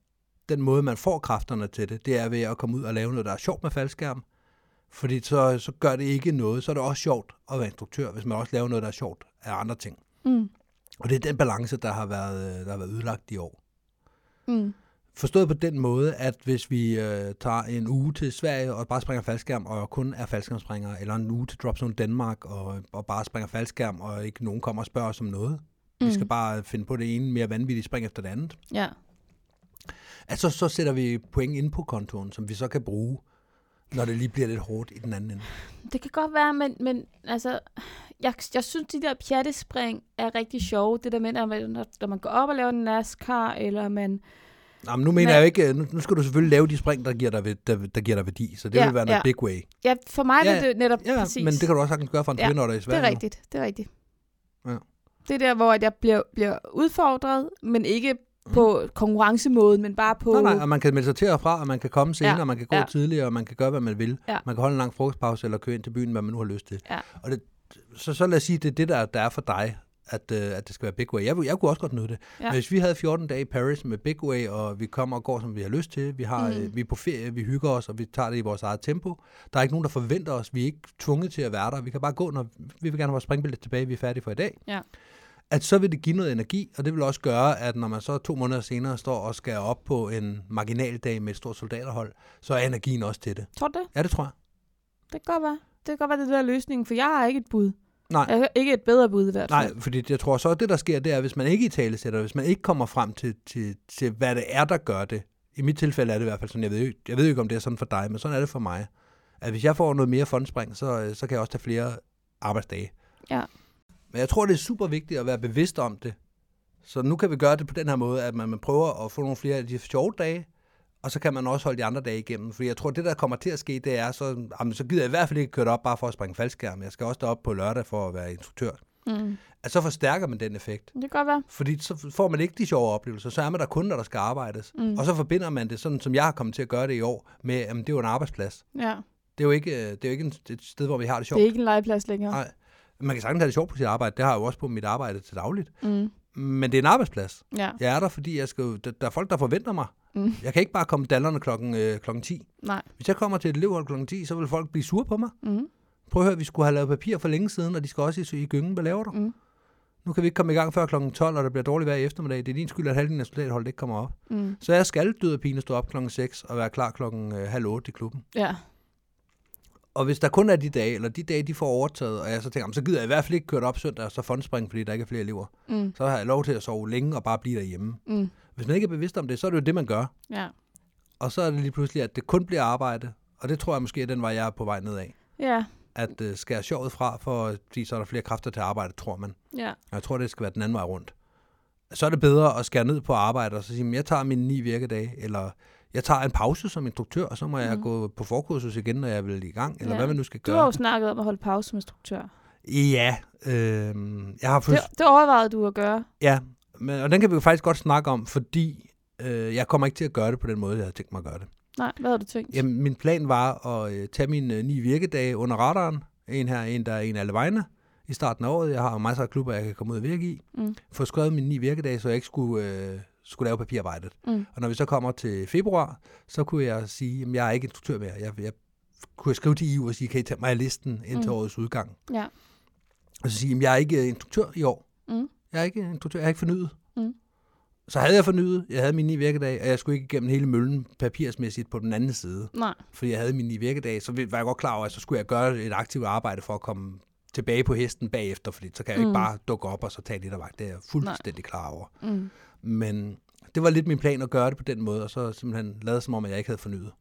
S2: den måde, man får kræfterne til det, det er ved at komme ud og lave noget, der er sjovt med faldskærm. Fordi så, så gør det ikke noget. Så er det også sjovt at være instruktør, hvis man også laver noget, der er sjovt af andre ting.
S3: mm,
S2: Og det er den balance, der har været, øh, der har været ødelagt i år.
S3: mm,
S2: Forstået på den måde, at hvis vi øh, tager en uge til Sverige og bare springer faldskærm, og kun er faldskærmspringer, eller en uge til Dropzone Danmark og, og bare springer faldskærm, og ikke nogen kommer og spørger os om noget. Mm.
S3: mm.
S2: Vi skal bare finde på det ene mere vanvittige spring efter det andet.
S3: Ja,
S2: Altså, så sætter vi point ind på kontoen, som vi så kan bruge, når det lige bliver lidt hårdt i den anden ende.
S3: det kan godt være, men, men altså, jeg, jeg synes, de der pjattespring er rigtig sjove. Det der med, når man, når- når man går op og laver en NASCAR, eller man...
S2: Nå, men nu mener
S3: Men-
S2: jeg jo ikke, øh, nu nu skal du selvfølgelig lave de spring, der giver dig, væ- der, der giver dig værdi, så det
S3: Ja,
S2: vil være noget
S3: ja.
S2: big way.
S3: Ja, for mig
S2: Ja,
S3: ja, vil det netop
S2: Ja,
S3: præcis.
S2: men det kan du også sagtens gøre for en
S3: Ja,
S2: ja, i
S3: det
S2: Sverige.
S3: er rigtigt, det er rigtigt.
S2: Ja.
S3: Det er der, hvor at jeg bliver, bliver udfordret, men ikke på konkurrencemåden, men bare på...
S2: Nu. Nej, nej, og man kan melde sig til og fra, og man kan komme senere,
S3: Ja,
S2: og man kan gå
S3: ja.
S2: tidligere, og man kan gøre, hvad man vil.
S3: Ja.
S2: Man kan holde en lang frokostpause eller køre ind til byen, hvad man nu har lyst til.
S3: Ja.
S2: Og det, så, så lad os sige, det er det, der, der er for dig, at, øh, at det skal være Big Way. Jeg, vil- jeg kunne også godt nyde det.
S3: Ja.
S2: Men hvis vi havde 14 dage i Paris med Big Way, og vi kommer og går, som vi har lyst til, vi, har,
S3: Mm.
S2: mm. vi er på ferie, vi hygger os, og vi tager det i vores eget tempo. Der er ikke nogen, der forventer os. Vi er ikke tvunget til at være der. Vi kan bare gå, når vi vil gerne have vores springbillet tilbage, vi er færdige for i dag.
S3: Ja.
S2: At så vil det give noget energi, og det vil også gøre, at når man så to måneder senere står og skal op på en marginaldag med et stort soldaterhold, så er energien også til det.
S3: Tror du det?
S2: Ja, det tror jeg.
S3: Det kan godt være. Det kan godt være, det er det der er løsningen, for jeg har ikke et bud.
S2: Nej.
S3: Jeg har ikke et bedre bud i hvert fald.
S2: Nej, fordi jeg tror så, at det, der sker, det er, hvis man ikke i tale sætter, hvis man ikke kommer frem til, til, til, hvad det er, der gør det. I mit tilfælde er det i hvert fald sådan, jeg ved, jo- jeg ved jo ikke, om det er sådan for dig, men sådan er det for mig. At hvis jeg får noget mere fondspring, så, øh, så kan jeg også tage flere arbejdsdage.
S3: Ja.
S2: Men jeg tror, det er super vigtigt at være bevidst om det. Så nu kan vi gøre det på den her måde, at man, man prøver at få nogle flere af de sjove dage, og så kan man også holde de andre dage igennem. Fordi jeg tror, det der kommer til at ske, det er, så, jamen, så gider jeg i hvert fald ikke køre op bare for at springe faldskærm. Jeg skal også derop på lørdag for at være instruktør
S3: Mm.
S2: at så forstærker man den effekt.
S3: Det kan godt være.
S2: Fordi så får man ikke de sjove oplevelser, så er man der kun, når der skal arbejdes.
S3: Mm.
S2: Og så forbinder man det, sådan som jeg har kommet til at gøre det i år, med, at det er jo en arbejdsplads.
S3: Ja.
S2: Det er jo ikke, øh, det er jo ikke en- et sted, hvor vi har det
S3: Det
S2: sjovt.
S3: er ikke en legeplads længere.
S2: Nej. Man kan sagtens have det sjovt på sit arbejde, det har jeg jo også på mit arbejde til dagligt.
S3: Mm.
S2: Men det er en arbejdsplads.
S3: Ja.
S2: Jeg er der, fordi jeg skal, jo- der, der er folk, der forventer mig.
S3: Mm.
S2: Jeg kan ikke bare komme dallerne klokken, øh, klokken 10.
S3: Nej.
S2: Hvis jeg kommer til et elevhold klokken 10, så vil folk blive sure på mig.
S3: Mm.
S2: Prøv at høre, vi skulle have lavet papir for længe siden, og de skal også i, i gyngen. Hvad laver du?
S3: Mm.
S2: Nu kan vi ikke komme i gang før kl. 12, og der bliver dårligt vejr i eftermiddag. Det er din skyld, at halvdelen af soldatholdet ikke kommer op.
S3: Mm.
S2: Så jeg skal død og pine stå op kl. 6 og være klar kl. halv 8 i klubben.
S3: Ja.
S2: Og hvis der kun er de dage, eller de dage, de får overtaget, og jeg så tænker, "Jamen, så gider jeg i hvert fald ikke køre det op søndag og så fondspringe, fordi der ikke er flere elever,
S3: Mm.
S2: så har jeg lov til at sove længe og bare blive derhjemme.
S3: Mm.
S2: Hvis man ikke er bevidst om det, så er det jo det, man gør.
S3: Ja.
S2: Og så er det lige pludselig, at det kun bliver arbejde, og det tror jeg måske er den vej, jeg er på vej nedad.
S3: Ja.
S2: At øh, skære sjovet fra, for, fordi så er der flere kræfter til arbejde, tror man.
S3: Ja.
S2: Og jeg tror, det skal være den anden vej rundt. Så er det bedre at skære ned på arbejde og så sige, "Men jeg tager mine ni virkedage, eller jeg tager en pause som instruktør, og så må jeg
S3: Mhm.
S2: gå på forkursus igen, når jeg vil i gang, eller
S3: Ja.
S2: hvad man nu skal
S3: Du har
S2: gøre.
S3: jo snakket om at holde pause som instruktør.
S2: Ja, øh, jeg har
S3: Det,
S2: først,
S3: det overvejede du at gøre.
S2: ja, men, og den kan vi jo faktisk godt snakke om, fordi øh, jeg kommer ikke til at gøre det på den måde, jeg havde tænkt mig at gøre det.
S3: Nej, hvad havde du tænkt?
S2: Jamen, min plan var at øh, tage mine øh, ni virkedage under radaren, en her, en der er en alle vegne, i starten af året. Jeg har jo masser af klubber, jeg kan komme ud og virke i.
S3: Mm.
S2: få skrevet mine ni virkedage, så jeg ikke skulle, øh, skulle lave papirarbejdet.
S3: Mm.
S2: Og når vi så kommer til februar, så kunne jeg sige, at jeg er ikke instruktør mere. Jeg, jeg kunne jeg skrive til IU og sige, kan I tage mig af listen indtil
S3: Mm.
S2: mm. årets udgang?
S3: Ja.
S2: Og så sige, at jeg er ikke øh, instruktør i år.
S3: Mm.
S2: Jeg er ikke instruktør, jeg er ikke fornyet.
S3: Mm.
S2: Så havde jeg fornyet, jeg havde min ni virkedage, og jeg skulle ikke igennem hele møllen papirsmæssigt på den anden side.
S3: Nej.
S2: Fordi jeg havde min ni virkedage, så var jeg godt klar over, at så skulle jeg gøre et aktivt arbejde for at komme tilbage på hesten bagefter, fordi så kan jeg jo ikke
S3: Mm.
S2: bare dukke op og så tage lidt af vagt. Det er jeg fuldstændig klar over.
S3: Mm.
S2: Men det var lidt min plan at gøre det på den måde, og så simpelthen lade som om, at jeg ikke havde fornyet.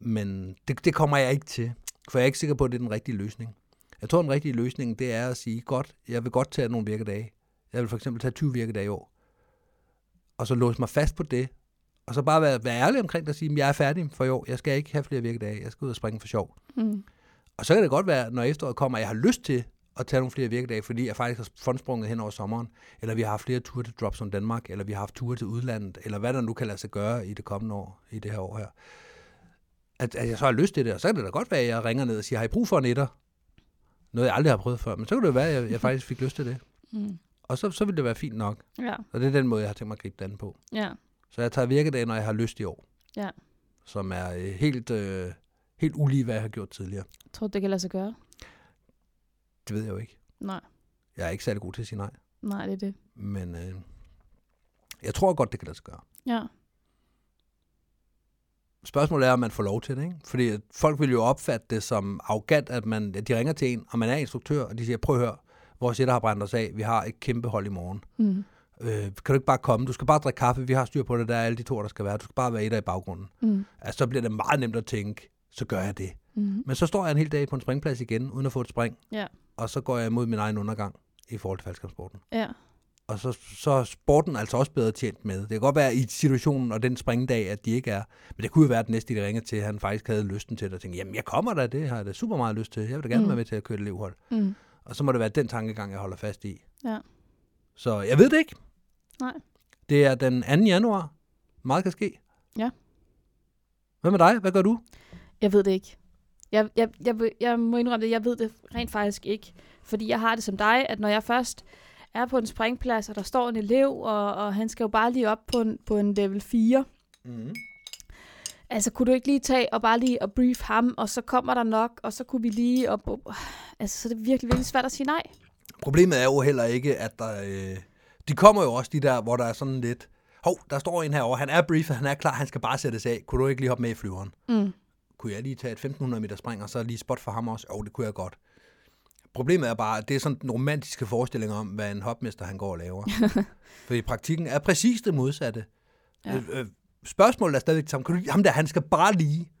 S2: Men det, det kommer jeg ikke til, for jeg er ikke sikker på, at det er den rigtige løsning. Jeg tror, den rigtige løsning, det er at sige, godt, jeg vil godt tage nogle virkedage. Jeg vil for eksempel tage 20 virkedage i år. Og så låse mig fast på det, og så bare være, være ærlig omkring det og sige, at jeg er færdig for i år. Jeg skal ikke have flere virkedage. Jeg skal ud og springe for sjov.
S3: Mm.
S2: Og så kan det godt være, når efteråret kommer, at jeg har lyst til at tage nogle flere virkedage, fordi jeg faktisk har fondsprunget hen over sommeren, eller vi har haft flere ture til Dropzone Danmark, eller vi har haft ture til udlandet, eller hvad der nu kan lade sig gøre i det kommende år, i det her år her. At, at jeg så har lyst til det, og så kan det da godt være, at jeg ringer ned og siger, har I brug for en etter? Noget, jeg aldrig har prøvet før, men så kan det jo være, at jeg, jeg faktisk fik lyst til det.
S3: Mm.
S2: Og så, så vil det være fint nok.
S3: Ja,
S2: Og det er den måde, jeg har tænkt mig at gribe det an på.
S3: ja.
S2: Så jeg tager virkedag, når jeg har lyst i år.
S3: Ja.
S2: Som er øh, helt, øh, helt ulige, hvad jeg har gjort tidligere.
S3: Tror du, det kan lade sig gøre?
S2: Det ved jeg jo ikke.
S3: Nej,
S2: Jeg er ikke særlig god til at sige nej.
S3: nej, det er det.
S2: Men øh, jeg tror godt, det kan lade sig gøre.
S3: Ja,
S2: Spørgsmålet er, om man får lov til det. Ikke? Fordi at folk vil jo opfatte det som arrogant, at man, at de ringer til en, og man er instruktør, og de siger, prøv at høre, vores sætter har brændt os af, vi har et kæmpe hold i morgen.
S3: mm.
S2: Øh, kan du ikke bare komme? Du skal bare drikke kaffe, vi har styr på det, der er alle de to, der skal være. Du skal bare være etter i baggrunden.
S3: Mm.
S2: Altså, så bliver det meget nemt at tænke, så gør jeg det.
S3: Mm.
S2: Men så står jeg en hel dag på en springplads igen, uden at få et spring.
S3: Ja.
S2: Og så går jeg imod min egen undergang i forhold til faldskabssporten.
S3: ja.
S2: Og så, så er sporten altså også bedre tjent med. Det kan godt være i situationen og den springdag, at de ikke er. Men det kunne jo være, at den næste, de ringer til, han faktisk havde lysten til det. Og tænkte, jamen jeg kommer da, det har jeg da super meget lyst til. Jeg vil da gerne
S3: Mm.
S2: mm. være med til at køre et elevhold.
S3: Mm.
S2: Og så må det være den tankegang, jeg holder fast i.
S3: Ja.
S2: Så jeg ved det ikke.
S3: Nej.
S2: Det er den 2. januar. Meget kan ske.
S3: Ja.
S2: Hvad med dig? Hvad gør du?
S3: Jeg ved det ikke. Jeg, jeg, jeg, vil- jeg må indrømme det, jeg ved det rent faktisk ikke. Fordi jeg har det som dig, at når jeg først er på en springplads, og der står en elev, og, og han skal jo bare lige op på en, på en level 4.
S2: Mm.
S3: Altså, kunne du ikke lige tage og bare lige og brief ham, og så kommer der nok, og så kunne vi lige... Og, altså, så er det virkelig, virkelig svært at sige nej.
S2: Problemet er jo heller ikke, at der... Øh, de kommer jo også, de der, hvor der er sådan lidt... Hov, der står en herovre, han er briefet, han er klar, han skal bare sættes af. Kunne du ikke lige hoppe med i flyveren?
S3: Mm.
S2: Kunne jeg lige tage et 1500 meter spring, og så lige spot for ham også? Jo, det kunne jeg godt. Problemet er bare, at det er sådan den romantiske forestilling om, hvad en hopmester han går og laver. Fordi praktikken er præcis det modsatte.
S3: Ja.
S2: Ja. Øh, øh, spørgsmålet er stadigvæk det samme. Kan du, lide- ham der, han skal bare lige.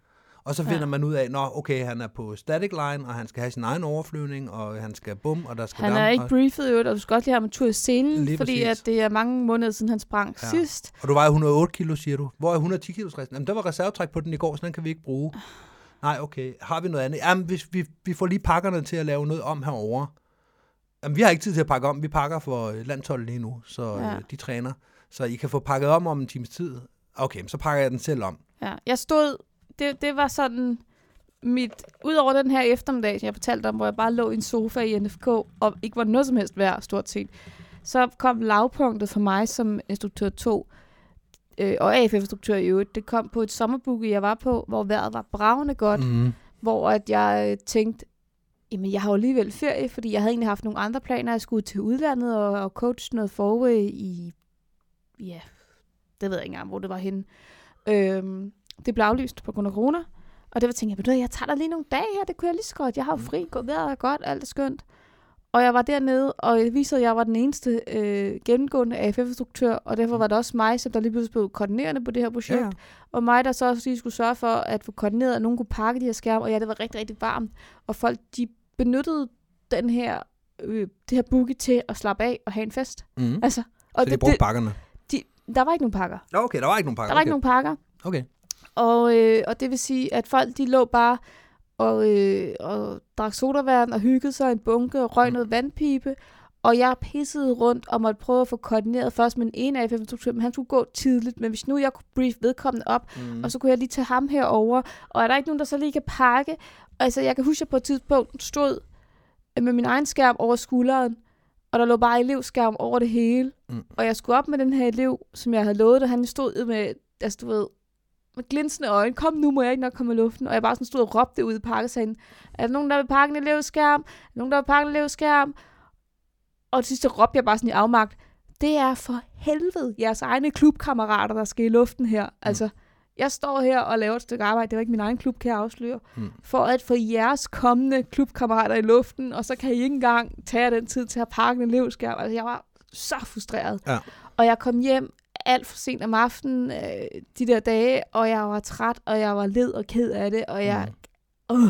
S2: Og så finder
S3: Ja.
S2: ja. man ud af, nå, okay, han er på static line, og han skal have sin egen overflyvning, og han skal bum, og der skal
S3: Han er
S2: dam,
S3: ikke
S2: og...
S3: briefet, i øvrigt, og du skal godt lige have ham en tur i scenen,
S2: Lige
S3: fordi
S2: præcis.
S3: at det er mange måneder siden, han sprang ja.
S2: Ja.
S3: sidst.
S2: Og du vejer 108 kilo, siger du. Hvor er 110 kilos resten? Jamen, der var reservetræk på den i går, så den kan vi ikke bruge. Nej, okay. Har vi noget andet? Jamen, vi, vi, vi får lige pakkerne til at lave noget om herovre. Jamen, vi har ikke tid til at pakke om. Vi pakker for øh, landsholdet lige nu, så
S3: Ja.
S2: ja. de træner. Så I kan få pakket om om en times tid. Okay, men så pakker jeg den selv om.
S3: Ja, jeg stod, det, det var sådan mit, udover den her eftermiddag, som jeg fortalte om, hvor jeg bare lå i en sofa i NFK, og ikke var noget som helst værd, stort set, så kom lavpunktet for mig som instruktør 2, øh, og AF-instruktør i øvrigt, det kom på et sommerbookie, jeg var på, hvor vejret var bravende godt, mm.
S2: Mm.
S3: hvor at jeg øh, tænkte, jamen jeg har jo alligevel ferie, fordi jeg havde egentlig haft nogle andre planer, jeg skulle til udlandet og, og coach noget forway i, ja, det ved jeg ikke engang, hvor det var henne. Øhm, det blev aflyst på grund af corona, og det var tænkte jeg, ved du hvad, jeg tager da lige nogle dage her, det kunne jeg lige så godt, jeg har jo fri, gået vejret er godt, alt er skønt. Og jeg var dernede, og det viser, at jeg var den eneste øh, gennemgående AFF-instruktør, og derfor var det også mig, som der lige pludselig blev koordinerende på det her projekt.
S2: Ja.
S3: Og mig, der så også lige skulle sørge for at få koordineret, at nogen kunne pakke de her skærme. Og ja, det var rigtig, rigtig varmt. Og folk, de benyttede den her, øh, det her bookie til at slappe af og have en fest.
S2: Mm.
S3: Altså, og
S2: Så de brugte pakkerne.
S3: de, der var ikke nogen pakker.
S2: Nå, okay, der var ikke nogen
S3: Der
S2: pakker.
S3: var ikke nogen pakker.
S2: Okay.
S3: Og, øh, og det vil sige, at folk, de lå bare og, øh, og drak sodavand og hyggede sig i en bunke og røg
S2: Mm.
S3: noget vandpipe. Og jeg pissede rundt og måtte prøve at få koordineret først med den ene af instruktøren, men han skulle gå tidligt. Men hvis nu jeg kunne brief vedkommende op,
S2: Okay. Mm.
S3: og så kunne jeg lige tage ham herover. Og er der ikke nogen, der så lige kan pakke? Altså, jeg kan huske, at jeg på et tidspunkt stod øh, med min egen skærm over skulderen, og der lå bare elevskærm over det hele.
S2: Mm.
S3: Og jeg skulle op med den her elev, som jeg havde lovet, og han stod med, altså du ved, med glinsende øjne. Kom nu, må jeg ikke nok komme i luften. Og jeg bare sådan stod og råbte ud i pakkesalen. Er der nogen, der vil pakke en elevskærm? Er der nogen, der vil pakke en elevskærm? Og til sidst så råbte jeg bare sådan i afmagt. Det er for helvede jeres egne klubkammerater, der skal i luften her.
S2: Mm.
S3: Altså, jeg står her og laver et stykke arbejde, det var ikke min egen klub, kan jeg afsløre,
S2: Mm.
S3: for at få jeres kommende klubkammerater i luften, og så kan I ikke engang tage jer den tid til at pakke en elevskærm. Altså, jeg var så frustreret.
S2: Ja.
S3: Og jeg kom hjem alt for sent om aftenen øh, de der dage, og jeg var træt, og jeg var led og ked af det, og jeg... Mm. Øh,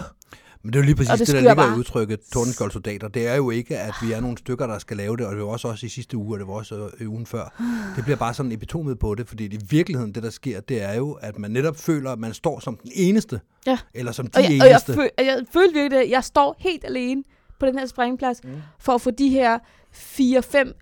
S2: Men det er jo lige præcis
S3: Og det
S2: det, det der
S3: skyer
S2: ligger i
S3: bare.
S2: udtrykket tordenskoldsoldater. Det er jo ikke, at vi er nogle stykker, der skal lave det, og det var også, også i sidste uge, og det var også øh, ugen før. Det bliver bare sådan epitomet på det, fordi i virkeligheden, det der sker, det er jo, at man netop føler, at man står som den eneste,
S3: Ja.
S2: eller som de
S3: og, jeg, og jeg,
S2: eneste.
S3: føl, og jeg følte virkelig, at jeg står helt alene på den her springplads, mm. for at få de her 4-5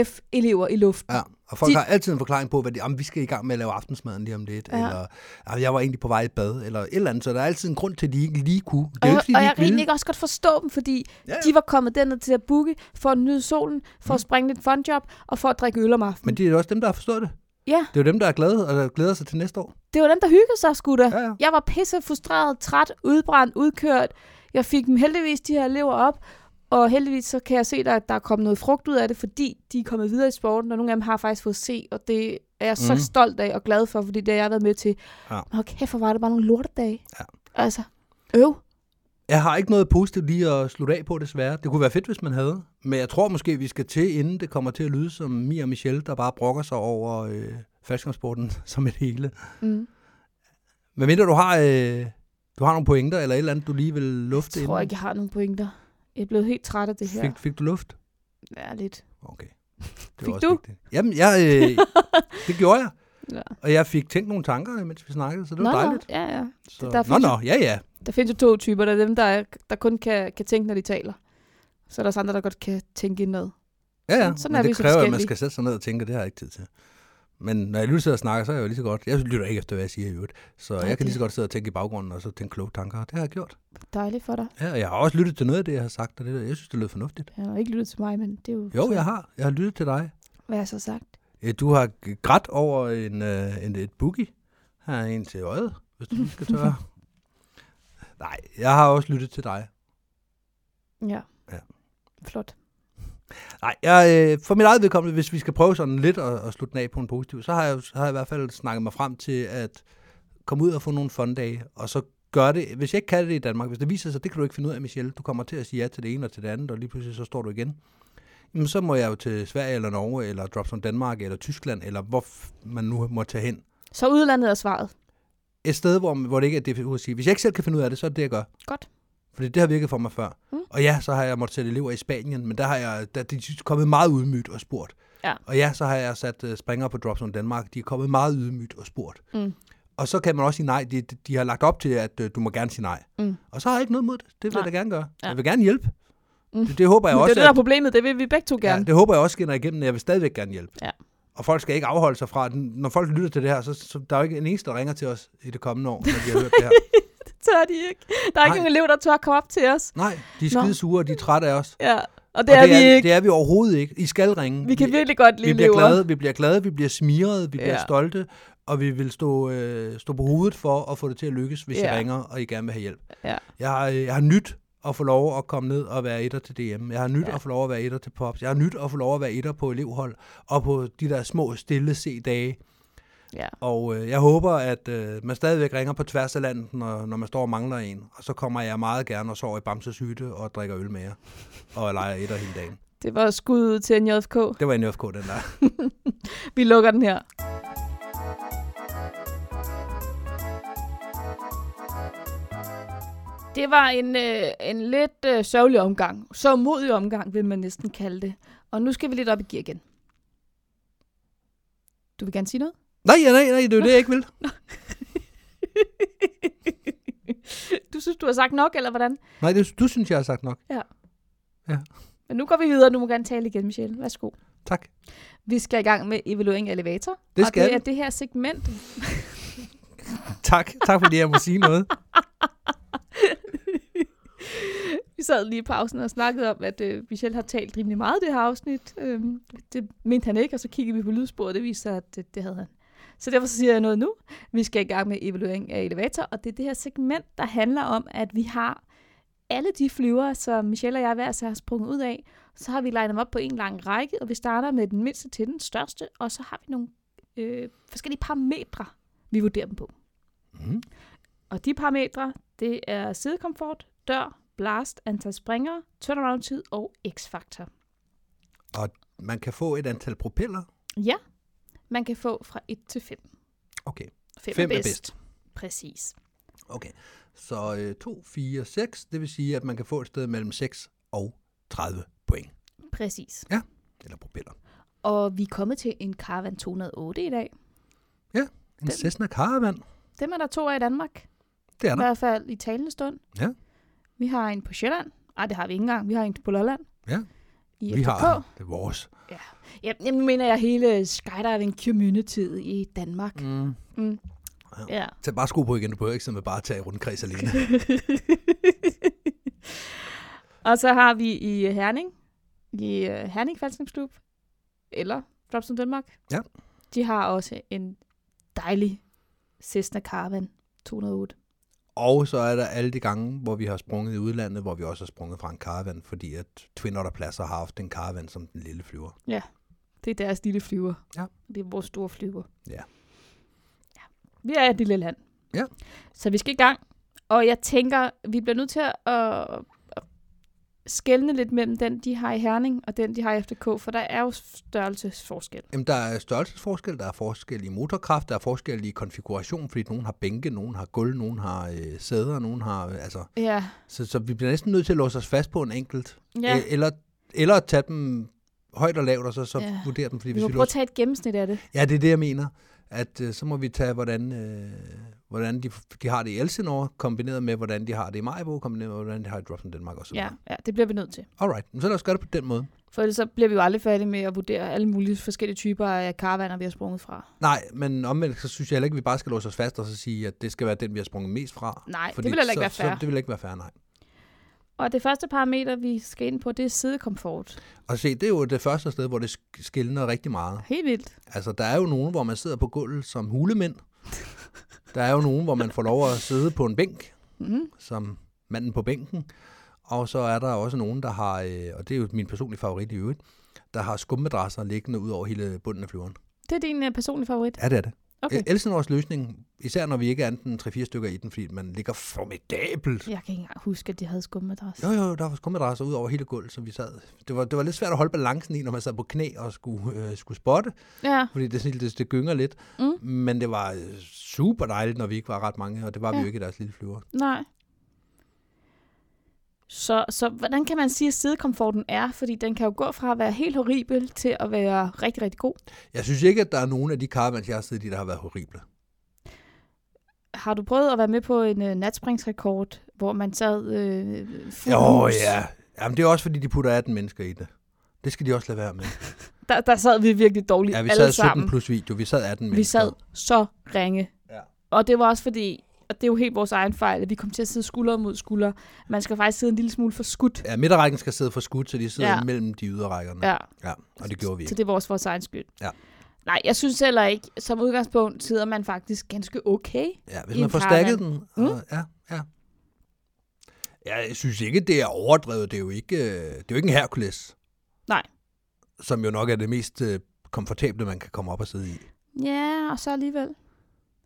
S3: AFF-elever i luften.
S2: Ja, og folk
S3: De-
S2: har altid en forklaring på, hvad de, om vi skal i gang med at lave aftensmaden lige om lidt,
S3: Ja.
S2: ja. eller "Ah, jeg var egentlig på vej i bad, eller et eller andet, så der er altid en grund til, at de ikke lige kunne. Det er jo
S3: Og, jeg,
S2: ikke, fordi
S3: og
S2: de
S3: jeg
S2: ikke
S3: kan
S2: ville.
S3: egentlig også godt forstå dem, fordi ja,
S2: Ja,
S3: ja.
S2: ja.
S3: de var kommet derned til at booke for at nyde solen, for at springe lidt funjob og for at drikke øl om aftenen.
S2: Men det er jo også dem, der har forstået det.
S3: Ja,
S2: Det er jo dem, der er glade, og der glæder sig til næste år.
S3: det var dem, der hyggede sig, sgu da.
S2: Ja, ja.
S3: Jeg var pisse frustreret, træt, udbrændt, udkørt. Jeg fik dem heldigvis, de her elever op. Og heldigvis så kan jeg se, der, at der er kommet noget frugt ud af det, fordi de er kommet videre i sporten, og nogle af dem har jeg faktisk fået se, og det er jeg så
S2: Mhm.
S3: stolt af og glad for, fordi det har jeg været med til.
S2: Ja.
S3: Men okay, for var det bare nogle lortedage.
S2: Ja.
S3: Altså, øv.
S2: Jeg har ikke noget positivt lige at slutte af på, desværre. Det kunne være fedt, hvis man havde. Men jeg tror måske, vi skal til, inden det kommer til at lyde som Mia og Michelle, der bare brokker sig over øh, faldskabsporten som et hele.
S3: Mm.
S2: Men mindre du har, øh, du har nogle pointer, eller et eller andet, du lige vil lufte
S3: Jeg tror ikke, jeg har nogen pointer. Jeg er blevet helt træt af det her.
S2: Fik, fik du luft?
S3: Ja, lidt.
S2: Okay. Det var
S3: Fik
S2: også
S3: du?
S2: Vigtigt. Jamen, jeg, øh, det gjorde jeg.
S3: Ja.
S2: Og jeg fik tænkt nogle tanker, mens vi snakkede, så det var
S3: nå,
S2: dejligt.
S3: Nå, ja, ja.
S2: Så,
S3: der
S2: nå,
S3: findes
S2: nå, ja, ja.
S3: Der findes jo to typer. Der er dem, der, er, der kun kan, kan tænke, når de taler. Så er der også andre, der godt kan tænke indad.
S2: Ja, ja.
S3: Sådan- sådan
S2: men
S3: er vi
S2: det
S3: så
S2: kræver, at man
S3: forskellige.
S2: skal sætte sig ned og tænke, det har jeg ikke tid til. Men når jeg lytter til at snakke, så er jeg jo lige så godt. Jeg lytter ikke efter, hvad jeg siger i øvrigt. Så
S3: Nej,
S2: Nej, jeg kan
S3: det-
S2: lige så godt sidde og tænke i baggrunden, og så tænke kloge tanker. Det har jeg gjort.
S3: Dejligt for dig.
S2: Ja, og jeg har også lyttet til noget af det, jeg har sagt, og det, jeg synes, det lød fornuftigt.
S3: Jeg har ikke lyttet til mig, men det er jo,
S2: Jo, jeg har. Jeg har lyttet til dig.
S3: hvad jeg så har sagt.
S2: Øh, Du har g- grædt over en, øh, en, et boogie. Her er en til øjet, hvis du skal tørre. Nej, jeg har også lyttet til dig.
S3: Ja.
S2: Ja.
S3: Flot.
S2: Nej, jeg, øh, for mit eget vedkommende, hvis vi skal prøve sådan lidt at, at slutte den af på en positiv, så har jeg, jo- så har jeg i hvert fald snakket mig frem til at komme ud og få nogle fondage, og så gøre det. Hvis jeg ikke kan det i Danmark, hvis det viser sig, det kan du ikke finde ud af, Michelle, du kommer til at sige ja til det ene og til det andet, og lige pludselig så står du igen. Jamen, så må jeg jo til Sverige eller Norge, eller Dropson Danmark, eller Tyskland, eller hvor f- man nu må tage hen.
S3: Så udlandet er svaret.
S2: Et sted, hvor, hvor det ikke er det, at sige, hvis jeg ikke selv kan finde ud af det, så er det det, jeg gør.
S3: Godt.
S2: Fordi det har virket for mig før.
S3: Mm.
S2: Mm. Og ja, så har jeg måttet sætte elever i Spanien, men der har jeg, der, de er kommet meget ydmygt og spurgt.
S3: Ja.
S2: Og ja, så har jeg sat uh, springere på Dropzone Danmark, de er kommet meget ydmygt og spurgt.
S3: Mm.
S2: Og så kan man også sige nej, de, de- de har lagt op til, at uh, du må gerne sige nej.
S3: Mm.
S2: Og så har jeg ikke noget mod det, det vil
S3: Nej.
S2: jeg da gerne gøre.
S3: Ja.
S2: Jeg vil gerne hjælpe.
S3: Mm.
S2: Det, det håber jeg
S3: Men det er
S2: også,
S3: jo det, der er
S2: at,
S3: problemet. Det vil vi begge to gerne.
S2: ja, det håber jeg også skinner igennem, at jeg vil stadigvæk gerne hjælpe.
S3: Ja.
S2: Og folk skal ikke afholde sig fra, at når folk lytter til det her, så, så der er jo ikke en eneste, der ringer til os i det kommende år, når de har hørt det her.
S3: Det tør de ikke. Der er ikke
S2: Nej.
S3: nogen elev, der tør komme op til os.
S2: Nej, de er
S3: Nå.
S2: skide sure, og de er trætte af os.
S3: Ja. Og det, og er, vi ikke.
S2: Det er vi overhovedet ikke. I skal ringe.
S3: Vi kan virkelig godt lide
S2: vi bliver
S3: elever.
S2: glade, vi bliver glade, vi bliver smiret, vi bliver
S3: Ja.
S2: stolte, og vi vil stå, øh, stå på hovedet for at få det til at lykkes, hvis
S3: Ja.
S2: I ringer, og I gerne vil have hjælp.
S3: Ja.
S2: Jeg, har, øh, jeg har nyt at få lov at komme ned og være etter til DM. Jeg har nyt
S3: Ja.
S2: ja. at få lov at være etter til Pops. Jeg har nyt at få lov at være etter på elevhold, og på de der små, stille C-dage.
S3: Ja.
S2: Og øh, jeg håber, at øh, man stadigvæk ringer på tværs af landet, når, når man står og mangler en. Og så kommer jeg meget gerne og sover i Bamses hytte og drikker øl med jer. Og leger etter hele dagen.
S3: Det var skud ud til en JFK.
S2: Det var en FK, den der.
S3: Vi lukker den her. Det var en, øh, en lidt øh, sørgelig omgang. Så modig omgang, vil man næsten kalde det. Og nu skal vi lidt op i gear igen. Du vil gerne sige noget?
S2: Nej, ja, nej, nej, det er jo det, jeg ikke vil.
S3: du synes, du har sagt nok, eller hvordan?
S2: Nej, det, du synes, jeg har sagt nok.
S3: Men nu går vi videre. Du må gerne tale igen, Michelle. Værsgo.
S2: Tak.
S3: Vi skal i gang med evaluering af elevator.
S2: Det
S3: og
S2: skal
S3: det er
S2: vi.
S3: det her segment,
S2: Tak, tak fordi jeg må sige noget.
S3: Vi sad lige i pausen og snakkede om, at øh, Michel har talt rimelig meget i det her afsnit. Øhm, det mente han ikke, og så kiggede vi på lydsporet, og det viste sig, at øh, det, det havde han. Så derfor så siger jeg noget nu. Vi skal i gang med evaluering af elevator, og det er det her segment, der handler om, at vi har alle de flyver, som Michelle og jeg hver især har sprunget ud af, så har vi legnet dem op på en lang række, og vi starter med den mindste til den største, og så har vi nogle øh, forskellige parametre, vi vurderer dem på.
S2: Mm.
S3: Og de parametre, det er sidekomfort, dør, blast, antal springere, turnaround-tid og x-faktor.
S2: Man kan få et antal propeller.
S3: Ja, man kan få fra 1 til 5.
S2: Okay,
S3: 5,
S2: Fem er
S3: er, bedst.
S2: bedst.
S3: Præcis.
S2: okay. Så øh, 2, 4, 6, det vil sige, at man kan få et sted mellem 6 og 30 point,
S3: Præcis.
S2: eller propeller.
S3: Og vi er kommet til en Caravan 208 i dag.
S2: En
S3: Den-
S2: Cessna Caravan,
S3: Dem er der to af i Danmark.
S2: det er
S3: I
S2: der.
S3: hvert fald i talende stund.
S2: Ja.
S3: Vi har en på Sjælland. Nej, det har vi ikke engang. Vi har en på Lolland.
S2: Ja.
S3: I
S2: Vi
S3: FDK.
S2: har det er vores.
S3: Ja, jeg mener jeg hele skydiving community i Danmark.
S2: Mm.
S3: Mm.
S2: Ja.
S3: Ja.
S2: Tag bare sko på igen, du behøver ikke simpelthen bare tage rundt kreds alene.
S3: og så har vi i Herning, i øh, Herning Falskningsklub, eller Drops in Danmark.
S2: Ja.
S3: De har også en dejlig Cessna Caravan 208.
S2: Og så er der alle de gange, hvor vi har sprunget i udlandet, hvor vi også har sprunget fra en caravan, fordi at Twin Otter Plasser har haft en caravan som den lille flyver.
S3: Det er deres lille flyver.
S2: Ja.
S3: Det er vores store flyver.
S2: Ja.
S3: Ja. Vi er et lille land.
S2: Ja.
S3: Så vi skal i gang. Og jeg tænker, vi bliver nødt til at, at skelne lidt mellem den, de har i Herning, og den, de har i FDK, for der er jo størrelsesforskel.
S2: Jamen, der er størrelsesforskel, der er forskel i motorkraft, der er forskel i konfiguration, fordi nogen har bænke, nogen har gulv, nogen har øh, sæder, nogen har... Øh, altså,
S3: Ja.
S2: så, så vi bliver næsten nødt til at låse os fast på en enkelt.
S3: ja.
S2: Øh, Eller, eller at tage dem højt og lavt, og så, så
S3: Ja.
S2: ja. vurdere dem. Fordi
S3: Vi
S2: hvis
S3: må
S2: vi
S3: prøve at
S2: låser...
S3: tage et gennemsnit af det.
S2: Ja, det er det, jeg mener. At øh, så må vi tage, hvordan, øh, hvordan de, de har det i Elsinore, kombineret med, hvordan de har det i Majbo, kombineret med, hvordan de har det i Drops in Denmark osv.
S3: Ja, ja, det bliver vi nødt til.
S2: Alright, men så lad os gøre det på den måde.
S3: For ellers så bliver vi jo aldrig færdige med at vurdere alle mulige forskellige typer af karavaner, vi har sprunget fra.
S2: Nej, men omvendt, så synes jeg heller ikke, at vi bare skal låse os fast og så sige, at det skal være den, vi har sprunget mest fra.
S3: Nej, det vil heller ikke
S2: så,
S3: være fair.
S2: Så, det vil ikke være fair, nej.
S3: Og det første parameter, vi skal ind på, det er sidekomfort.
S2: Og se, det er jo det første sted, hvor det sk- skiller rigtig meget.
S3: Helt vildt.
S2: Altså, der er jo nogen, hvor man sidder på gulvet som hulemænd. Der er jo nogen, hvor man får lov at sidde på en bænk,
S3: Mm-hmm.
S2: som manden på bænken. Og så er der også nogen, der har, øh, og det er jo min personlige favorit i øvrigt, der har skummadrasser liggende ud over hele bunden af flyveren.
S3: Det er din uh, personlige favorit.
S2: Ja, det er det.
S3: Okay.
S2: Okay. Elsinores løsning, især når vi ikke er anden 3-4 stykker i den, fordi man ligger formidabelt.
S3: Jeg kan ikke engang huske, at de havde skummadras.
S2: Jo, jo, der var skummadrasser ud over hele gulvet, så vi sad. Det var, det var lidt svært at holde balancen i, når man sad på knæ og skulle, øh, skulle spotte,
S3: Ja,
S2: fordi det, sådan- det, det gynger lidt.
S3: Mm.
S2: Men det var øh, super dejligt, når vi ikke var ret mange, og det var ja. vi
S3: Ja.
S2: jo ikke i deres lille flyver.
S3: nej. Så, så hvordan kan man sige, at sidekomforten er? Fordi den kan jo gå fra at være helt horribel til at være rigtig, rigtig god.
S2: Jeg synes ikke, at der er nogen af de caravans, jeg har siddet i, der har været horrible.
S3: Har du prøvet at være med på en øh, natspringsrekord, hvor man sad øh, fuld
S2: Åh oh,
S3: hus?
S2: ja. Jamen, det er også, fordi de putter 18 mennesker i det. Det skal de også lade være med.
S3: Der, der sad vi virkelig dårligt
S2: Ja, vi
S3: alle
S2: sad
S3: sammen.
S2: 17 plus video. Vi sad 18 mennesker.
S3: vi sad så ringe.
S2: Ja.
S3: Og det var også fordi, og det er jo helt vores egen fejl, at vi kom til at sidde skulder mod skulder. Man skal faktisk sidde en lille smule for skudt.
S2: Ja, midterrækken skal sidde for skudt, så de sidder
S3: Ja.
S2: ja. mellem de ydre
S3: Ja,
S2: ja. og det gjorde vi
S3: så
S2: ikke.
S3: det var også vores egen skyld.
S2: Ja.
S3: Nej, jeg synes heller ikke, som udgangspunkt sidder man faktisk ganske okay.
S2: Ja, hvis
S3: i en
S2: man
S3: Mm.
S2: får stakket den. Og, ja, ja. Ja, jeg synes ikke, det er overdrevet. Det er jo ikke, øh, det er jo ikke en Hercules.
S3: Nej.
S2: Som jo nok er det mest øh, komfortable, man kan komme op og sidde i.
S3: Ja, og så alligevel.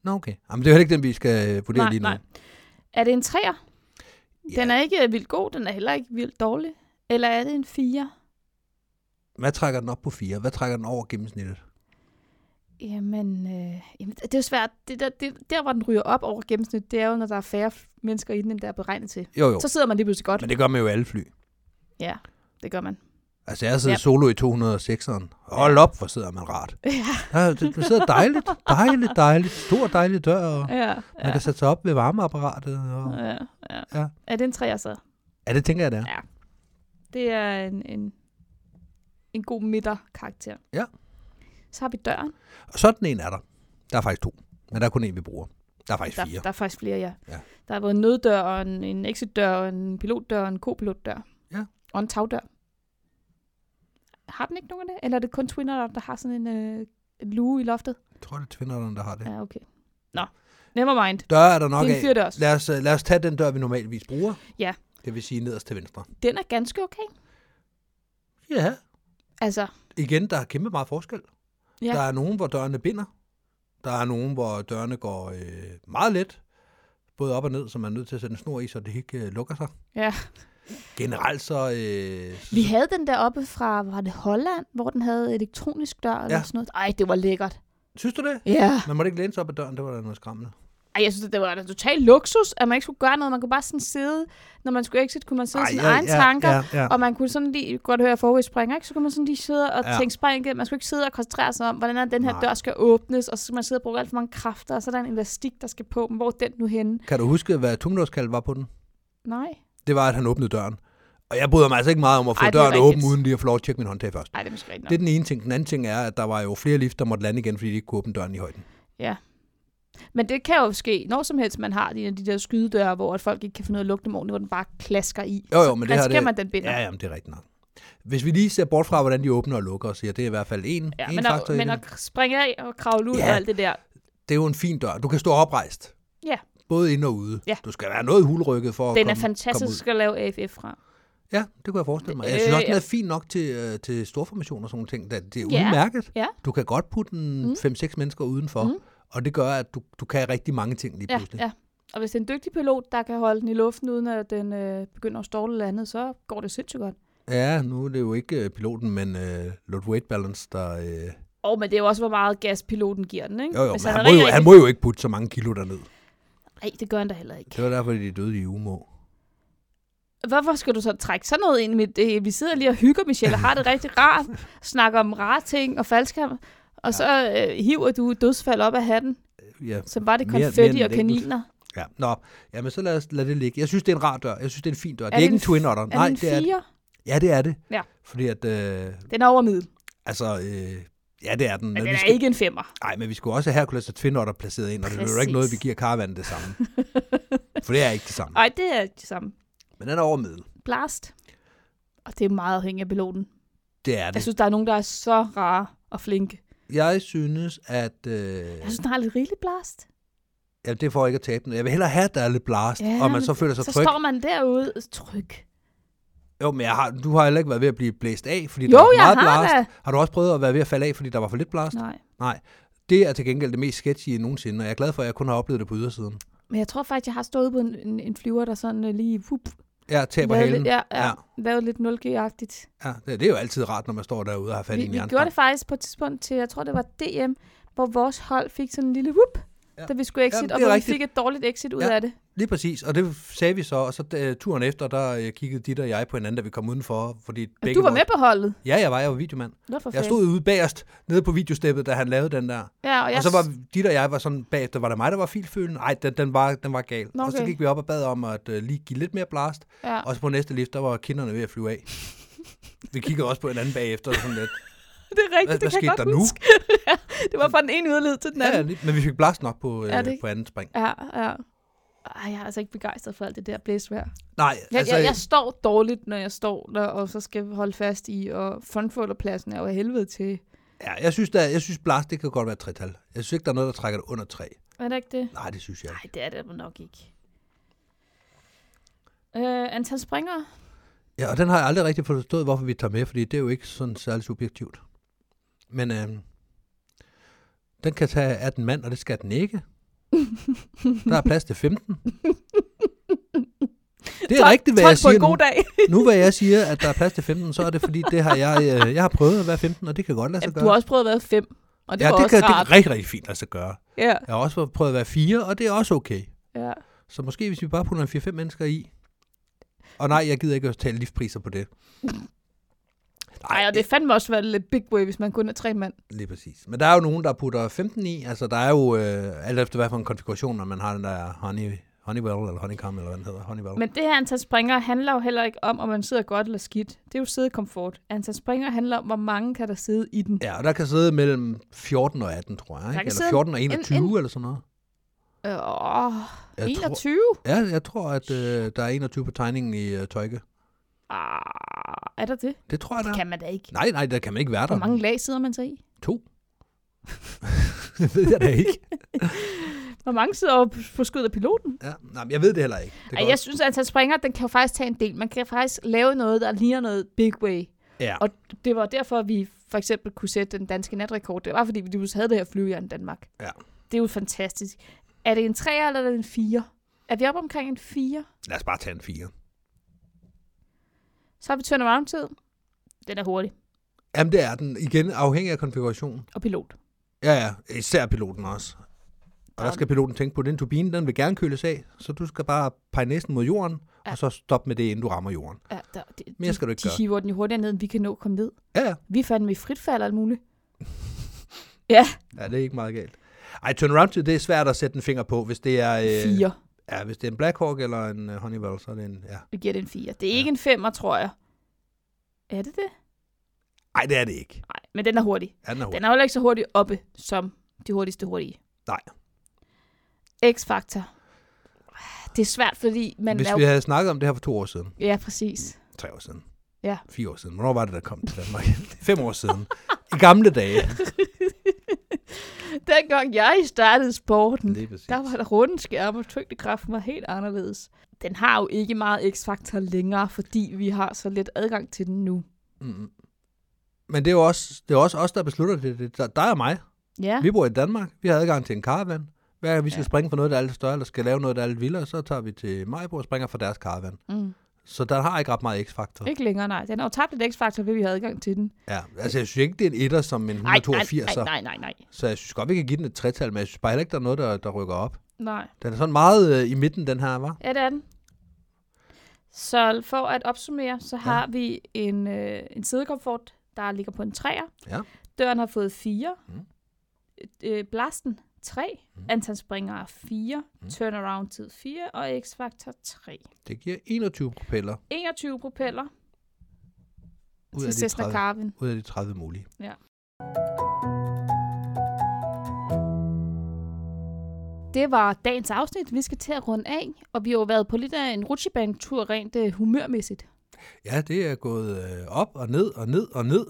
S2: Nå, okay. Jamen, det er heller ikke den, vi skal øh, vurdere
S3: Nej,
S2: lige nu.
S3: nej. Er det en træer?
S2: Ja.
S3: Den er ikke øh, vildt god, den er heller ikke vildt dårlig. Eller er det en fire?
S2: Hvad trækker den op på 4? Hvad trækker den over gennemsnittet?
S3: Jamen, øh, jamen, det er jo svært. Det der, det, der, hvor den ryger op over gennemsnit, det er jo, når der er færre mennesker i den, end der er beregnet til.
S2: Jo, jo.
S3: Så sidder man lige pludselig godt.
S2: Men det gør man jo i alle fly.
S3: Ja, det gør man.
S2: Altså, jeg har siddet
S3: Ja.
S2: ja. solo i 206'eren. Hold op, hvor sidder man rart.
S3: Ja,
S2: Ja, det, det sidder dejligt, dejligt, dejligt. Stor dejlig dør, og
S3: ja,
S2: man kan sætte sig op ved varmeapparatet. Og...
S3: ja, ja.
S2: Ja.
S3: Er det en træer så?
S2: Ja, det tænker jeg, det er.
S3: Det er en, en, en god midterkarakter.
S2: Ja.
S3: Så har vi døren.
S2: Og sådan en er der. Der er faktisk to, men der er kun en, vi bruger. Der er faktisk
S3: Der,
S2: fire.
S3: der er faktisk flere, ja.
S2: Ja.
S3: Der er både en nøddør, og en, en exitdør, og en pilotdør, og en kopilotdør.
S2: Ja.
S3: Og en tagdør. Har den ikke nogen af det? Eller er det kun Twinner, der har sådan en, øh, en luge i loftet?
S2: Jeg tror, det er tvinderne, der har det.
S3: Ja, okay. Nå, never mind.
S2: Dør er der nok
S3: det er
S2: af.
S3: en fyrdørs.
S2: Lad os, øh, lad os tage den dør, vi normalvis bruger. Det vil sige nederst til venstre.
S3: Den er ganske okay.
S2: Ja.
S3: Altså,
S2: Igen, der er kæmpe meget forskel.
S3: Ja.
S2: Der er nogen, hvor dørene binder. Der er nogen, hvor dørene går øh, meget let. Både op og ned, så man er nødt til at sætte en snor i, så det ikke øh, lukker sig.
S3: ja.
S2: Generelt så... Øh, så
S3: Vi havde den der oppe fra, var det Holland, hvor den havde elektronisk dør eller
S2: Ja.
S3: sådan noget. Ej, det var lækkert.
S2: Synes du det?
S3: Ja.
S2: Man måtte ikke læne sig op ad døren, det var da noget skræmmende.
S3: Ej, jeg synes, det var da total luksus, at man ikke skulle gøre noget. Man kunne bare sådan sidde, når man skulle exit, kunne man sidde i sine egne tanker.
S2: Ja, ja.
S3: Og man kunne sådan lige godt høre, at forrige springer, ikke? så kunne man sådan lige sidde og
S2: Ja.
S3: ja. tænke spring igennem. Man skulle ikke sidde og koncentrere sig om, hvordan er den her
S2: Nej.
S3: Nej. dør skal åbnes, og så skal man sidde og bruge alt for mange kræfter, og så er der en elastik, der skal på, men hvor er den nu henne?
S2: Kan du huske, hvad Tumlåskald var på den?
S3: Nej.
S2: Det var, at han åbnede døren. Og jeg bryder mig altså ikke meget om at få
S3: Ej,
S2: Ej,
S3: det er
S2: døren åben,
S3: rigtigt.
S2: uden lige at få lov at tjekke min håndtag først.
S3: Nej, det er måske rigtigt
S2: Det er
S3: nok.
S2: den ene ting. Den anden ting er, at der var jo flere lift, der måtte lande igen, fordi de ikke kunne åbne døren i højden.
S3: Men det kan jo ske, når som helst man har de, af de der skydedøre, hvor at folk ikke kan finde ud af at lukke dem ordentligt, hvor den bare klasker i. Altså,
S2: Jo, jo, men det her,
S3: så
S2: det-
S3: det... man den binder.
S2: Ja, jamen, det er rigtigt nok. Hvis vi lige ser bort fra, hvordan de åbner og lukker og siger, det er i hvert fald en,
S3: Ja,
S2: en
S3: men,
S2: faktor
S3: at,
S2: i
S3: men
S2: det.
S3: at springe af og kravle ud
S2: Ja.
S3: ja. og alt det der.
S2: Det er jo en fin dør. Du kan stå oprejst.
S3: Ja.
S2: Både ind og ude.
S3: Ja.
S2: Du skal være noget hulrykket for at
S3: Den
S2: komme,
S3: er fantastisk
S2: komme
S3: at lave AFF fra.
S2: ud. Ja, det kunne jeg forestille mig. Jeg
S3: Øh,
S2: synes også, den
S3: ja.
S2: er fin nok til, øh, til storformation og sådan nogle ting. Det det er
S3: Ja.
S2: udmærket.
S3: Ja.
S2: Du kan godt putte en
S3: Mm.
S2: 5-6 mennesker udenfor, mm. og det gør, at du, du kan rigtig mange ting lige
S3: Ja,
S2: pludselig.
S3: ja. Og hvis det er en dygtig pilot, der kan holde den i luften, uden at den øh, begynder at storle eller andet, så går det sindssygt godt.
S2: Ja, nu er det jo ikke øh, piloten, men øh, Lord Weight Balance, der... Øh,
S3: Og men det er jo også, hvor meget gas piloten giver den, ikke?
S2: jo, jo,
S3: Hvis
S2: men han,
S3: er
S2: må jo,
S3: rigtig-
S2: han må jo ikke putte så mange kilo derned.
S3: Nej, det gør han da heller ikke.
S2: Det var derfor, de døde i Umo.
S3: Hvorfor skal du så trække sådan noget ind i mit... Øh, vi sidder lige og hygger, Michelle, og har det rigtig rart, snakker om rare ting og faldskærm, og så øh, hiver du dødsfald op af hatten,
S2: Ja,
S3: som var det
S2: Mere- mere
S3: konfetti
S2: end
S3: og
S2: et enkelt.
S3: kaniner.
S2: ja. Nå, jamen så lad, os, lad det ligge. Jeg synes, det er en rar dør. Jeg synes, det er en fin dør. det er
S3: det
S2: ikke en
S3: en
S2: Twin Otter.
S3: Er
S2: Nej,
S3: den
S2: det er det.
S3: fire?
S2: Ja, det er det.
S3: Ja.
S2: Fordi at... Øh,
S3: Den er over middel,
S2: altså, øh, ja, det er den.
S3: men den
S2: vi
S3: er
S2: skal,
S3: ikke en femmer.
S2: Nej, men vi skulle også have Hercules og Twin Otter placeret ind, og det er jo ikke
S3: Præcis.
S2: noget, vi giver karavanen det samme. For det er ikke det samme.
S3: Nej, det er det samme.
S2: Men den er over middel.
S3: Blast. Og det er meget afhængigt af piloten.
S2: Det er
S3: Jeg
S2: det.
S3: synes, der er nogen, der er så rare og flinke.
S2: Jeg synes, at... Øh,
S3: Jeg synes, den har lidt rigeligt blast.
S2: Ja, det får ikke at tabe den. Jeg vil hellere have, at der er lidt blast, ja,
S3: Ja,
S2: og man
S3: men
S2: så føler sig
S3: Så
S2: tryg.
S3: står man derude tryg.
S2: Jo, men jeg har, du har heller ikke været ved at blive blæst af, fordi
S3: Jo,
S2: der var
S3: jeg
S2: meget
S3: har
S2: blast.
S3: da.
S2: Har du også prøvet at være ved at falde af, fordi der var for lidt blast?
S3: Nej.
S2: Det er til gengæld det mest sketchy nogensinde, og jeg er glad for, at jeg kun har oplevet det på ydersiden.
S3: Men jeg tror faktisk, jeg har stået på en, en, en flyver, der sådan øh, lige whoop,
S2: Jeg taber
S3: lavede,
S2: halen.
S3: lidt, ja, ja,
S2: Ja.
S3: ja. lavede lidt 0G-agtigt.
S2: Ja, det, det er jo altid rart, når man står derude og har fat i
S3: Vi,
S2: en
S3: vi
S2: jernstang.
S3: gjorde det faktisk på et tidspunkt til, jeg tror, det var DM, hvor vores hold fik sådan en lille whoop,
S2: Ja.
S3: ja. da vi skulle exit,
S2: Jamen,
S3: og
S2: det er
S3: hvor
S2: rigtigt.
S3: vi fik et dårligt exit ud
S2: Ja.
S3: ja. af det.
S2: Lige præcis, og det sagde vi så, og så øh, turen efter, der øh, kiggede dit og jeg på hinanden, da vi kom udenfor. Fordi
S3: Men
S2: begge
S3: Ah, du var
S2: vores-
S3: med på holdet.
S2: Ja, jeg var, jeg var videomand.
S3: Nå, for
S2: Jeg
S3: fanden.
S2: stod ude bagerst, nede på videosteppet, da han lavede den der.
S3: ja, og, jeg,
S2: Og så var de og jeg var sådan bagefter, var det mig, der var filfølende? Nej, den, den, var, den var gal.
S3: Nå,
S2: Og så
S3: okay. Ah.
S2: gik vi op og bad om at uh, lige give lidt mere blast.
S3: ja.
S2: Og så på næste lift, der var kinderne ved at flyve af. Vi kiggede også på hinanden bagefter. Sådan lidt.
S3: Det er rigtigt,
S2: Hvad,
S3: det
S2: hvad
S3: kan
S2: skete
S3: jeg
S2: der
S3: godt
S2: nu?
S3: huske. Det var fra den ene yderled til den
S2: Ja,
S3: anden.
S2: ja, lige- men vi fik blast nok på, øh,
S3: Ja, det-
S2: på anden spring.
S3: Ja, ja. Ej, jeg er altså ikke begejstret for alt det der blæsvejr.
S2: Nej,
S3: Jeg,
S2: altså,
S3: altså, jeg, jeg står dårligt, når jeg står der, og så skal holde fast i, og frontfolderpladsen er jo af helvede til.
S2: ja, jeg, synes, der, jeg synes, blast det kan godt være et tretal. Jeg synes ikke, der er noget, der trækker det under tre.
S3: Er det ikke det?
S2: Nej, det synes jeg ikke.
S3: Nej, det er det nok ikke. Øh, antal springere?
S2: Ja, og den har jeg aldrig rigtig forstået, hvorfor vi tager med, fordi det er jo ikke sådan særlig subjektivt. Men øh, den kan tage 18 mand, og det skal den ikke. Der er plads til 15. Det er
S3: Tak-
S2: rigtigt, hvad
S3: tak
S2: jeg
S3: på
S2: siger
S3: en god
S2: nu. Altså,
S3: dag.
S2: Nu hvad jeg siger, at der er plads til 15, så er det fordi, det har jeg, øh, jeg har prøvet at være 15, og det kan godt lade sig
S3: Jamen,
S2: gøre.
S3: Altså, du har også prøvet at være fem, og det
S2: ja,
S3: var
S2: det
S3: også
S2: kan, det
S3: rart.
S2: kan rigtig, rigtig fint lade sig gøre.
S3: Ja,
S2: Jeg har også prøvet at være 4, og det er også okay.
S3: ja.
S2: Så måske hvis vi bare putter en 4-5 mennesker i. Og nej, jeg gider ikke at tale liftpriser på det.
S3: Ej, og det fandme også være lidt big boy, hvis man kun er tre mand.
S2: Lige præcis. Men der er jo nogen, der putter 15 i. Altså, der er jo øh, alt efter, hvad for en konfiguration, når man har den der honey, honeywell, eller honeycomb, eller hvad den hedder. Honeywell. Men,
S3: Men det her antal springere handler jo heller ikke om, om man sidder godt eller skidt. Det er jo sædekomfort. Antal springere handler om, hvor mange kan der sidde i den.
S2: ja, og der kan sidde mellem 14 og 18, tror jeg. Ikke?
S3: kan
S2: Eller
S3: sidde
S2: 14 og 21, en,
S3: en-
S2: en, eller sådan noget.
S3: Åh, oh,
S2: Jeg
S3: 21?
S2: Tror, ja, jeg tror, at øh, der er 21 på tegningen i øh, tøjke.
S3: Ah, er der det?
S2: Det tror jeg, der
S3: Det
S2: er.
S3: kan man da ikke.
S2: Nej, nej, der kan man ikke være der.
S3: Hvor mange lag sidder man så i?
S2: To. det ved jeg da ikke.
S3: Hvor mange sidder over på- på skødet af piloten?
S2: Ja, nej, men jeg ved det heller ikke. Det
S3: Ej, jeg synes, at han springer, den kan jo faktisk tage en del. Man kan faktisk lave noget, der ligner noget big way.
S2: ja.
S3: Og det var derfor, at vi for eksempel kunne sætte den danske natrekord. Det var, fordi vi lige havde det her flyvejern i Danmark.
S2: Ja.
S3: Det er jo fantastisk. Er det en 3 eller er det en 4? Er vi oppe omkring en 4?
S2: Lad os bare tage en 4.
S3: Så har vi turnaround-tid. Den er hurtig.
S2: Jamen, det er den. Igen, afhængig af konfigurationen.
S3: Og pilot.
S2: Ja, ja. Især piloten også. Og der skal piloten tænke på, at den turbine, den vil gerne køles af, så du skal bare pege næsten mod jorden,
S3: Ja.
S2: og så stoppe med det, inden du rammer jorden.
S3: Ja, der, det,
S2: Mere skal du ikke
S3: de, de
S2: gøre.
S3: hiver den jo hurtigere ned, end vi kan nå at komme ned.
S2: Ja, ja.
S3: Vi fandt med fritfald og alt muligt.
S2: Ja, det er ikke meget galt. Ej, turnaround tid, det er svært at sætte en finger på, hvis det er... øh,
S3: 4.
S2: Ja, hvis det er en Black Hawk eller en øh, Honeywell, så er det en... Ja.
S3: Vi giver den en 4. Det er ikke en 5'er, tror jeg. Er det det?
S2: Ej, det er det ikke.
S3: Nej, men den er hurtig.
S2: Ja, den er
S3: Den
S2: hurtig.
S3: er jo heller ikke så hurtig oppe, som de hurtigste hurtige.
S2: Nej.
S3: X-faktor. Det er svært, fordi man
S2: Hvis
S3: er jo...
S2: vi havde snakket om det her for to år siden,
S3: Ja, præcis.
S2: tre år siden,
S3: Ja.
S2: fire år siden, hvornår var det, der kom til Danmark? Fem år siden. I gamle dage.
S3: Dengang jeg startede sporten,
S2: Lige præcis.
S3: der var der runde skærme, og tyngdekraften var helt anderledes. Den har jo ikke meget X-faktor længere, fordi vi har så lidt adgang til den nu.
S2: Mm. Men det er jo også, det er også os, der beslutter det. det er dig og mig.
S3: Ja,
S2: Vi bor i Danmark. Vi har adgang til en caravan. Hver gang vi skal
S3: Ja.
S2: ja. springe for noget, der er lidt større, eller skal lave noget, der er lidt vildere, så tager vi til Majbo og springer for deres caravan.
S3: mm.
S2: Så der har ikke ret meget x-faktor.
S3: ikke længere, nej. Den har jo tabt lidt X-faktor, ved vi har adgang til den.
S2: Ja, altså jeg synes ikke, det er en etter som en
S3: Ej, nej,
S2: 182,
S3: nej,
S2: så,
S3: nej, nej, nej.
S2: så jeg synes godt, vi kan give den et tretal, men jeg synes bare heller ikke, der er noget, der, der rykker op.
S3: Nej.
S2: Den er sådan meget øh, i midten, den her, var.
S3: Ja, det er den. Så for at opsummere, så har vi en, øh, en sidekomfort, der ligger på en træer.
S2: Ja.
S3: Døren har fået 4.
S2: Mm.
S3: Øh, blasten 3. Mm. Antal springere 4. Mm. Turnaround-tid 4. Og X-faktor 3.
S2: Det giver 21 propeller
S3: 21 propeller
S2: ud af, de
S3: til Cessna
S2: 30,
S3: Carvin.
S2: ud af de 30 mulige.
S3: Det var dagens afsnit. Vi skal til at runde af, og vi har jo været på lidt af en rutsjebanetur rent øh, humørmæssigt.
S2: Ja, det er gået øh, op og ned og ned og ned,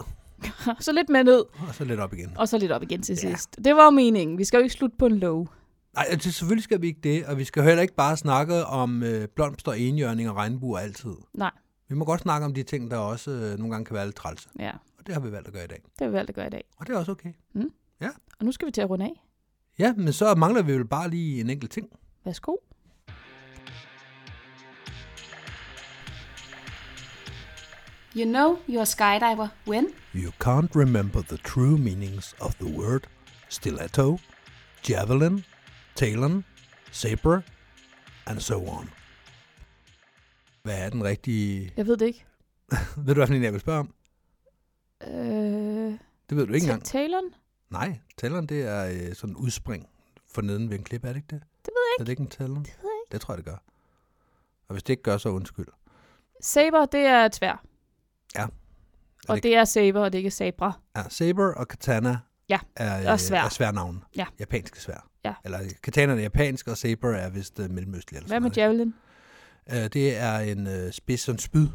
S3: så lidt med ned,
S2: og så lidt op igen.
S3: og så lidt op igen til
S2: Ja.
S3: sidst. Det var jo meningen. Vi skal jo ikke slutte på en low.
S2: Nej, altså, selvfølgelig skal vi ikke det, og vi skal heller ikke bare snakke om øh, blomster, enhjørning og regnbuer altid.
S3: Nej.
S2: Vi må godt snakke om de ting, der også øh, nogle gange kan være lidt trælse,
S3: Ja,
S2: og det har vi valgt at gøre i dag.
S3: det har vi valgt at gøre i dag.
S2: Og det er også okay.
S3: Og nu skal vi til at runde af.
S2: Ja, men så mangler vi vel bare lige en enkelt ting.
S3: Værsgo.
S4: You know you're a skydiver when?
S2: You can't remember the true meanings of the word stiletto, javelin, talon, saber, and so on. Hvad er den rigtige...
S3: Jeg ved det ikke.
S2: Ved du, hvad for en, jeg vil spørge om?
S3: Øh,
S2: Det ved du ikke engang.
S3: Ta- Talon?
S2: Nej, talon det er øh, sådan en udspring for neden ved en klip, er det ikke det?
S3: Det ved jeg
S2: Er det ikke en talon?
S3: Det ved jeg
S2: Det tror jeg, det gør. Og hvis det ikke gør, så undskyld.
S3: ikke. Saber, det er et svær.
S2: Ja.
S3: Og
S2: det-
S3: det er saber, og det er ikke sabra.
S2: Ja, saber og katana
S3: Ja,
S2: er, øh,
S3: og sværd.
S2: er sværnavne.
S3: Ja.
S2: Japanske svær.
S3: Ja.
S2: Eller katana er japansk, og saber er vist øh, mellemøstlig. Eller
S3: Hvad
S2: sådan
S3: med
S2: noget, ikke?
S3: javelin?
S2: Øh, det er en øh, spids, sådan spyd.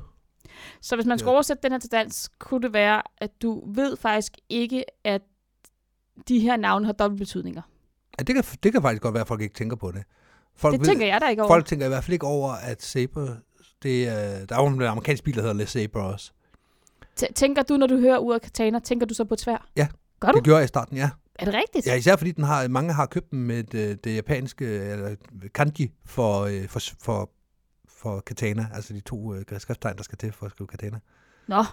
S3: Så hvis man skulle
S2: Ja.
S3: oversætte den her til dansk, kunne det være, at du ved faktisk ikke, at de her navne har dobbelt betydninger.
S2: Ja, det, kan, det kan faktisk godt være, at folk ikke tænker på det. Folk
S3: Det tænker jeg da ikke over.
S2: Folk tænker i hvert fald ikke over, at saber... Det, øh, der er jo en amerikansk bil, der hedder Le Saber også.
S3: T- tænker du, når du hører ordet katana, tænker du så på et svær?
S2: Ja.
S3: Gør du?
S2: Det gjorde jeg i starten, ja.
S3: Er det rigtigt?
S2: Ja, især fordi den har, mange har købt dem med det, det japanske eller kanji for, øh, for, for, for katana, altså de to øh, skrifttegn, der skal til for at skrive katana.
S3: Nå,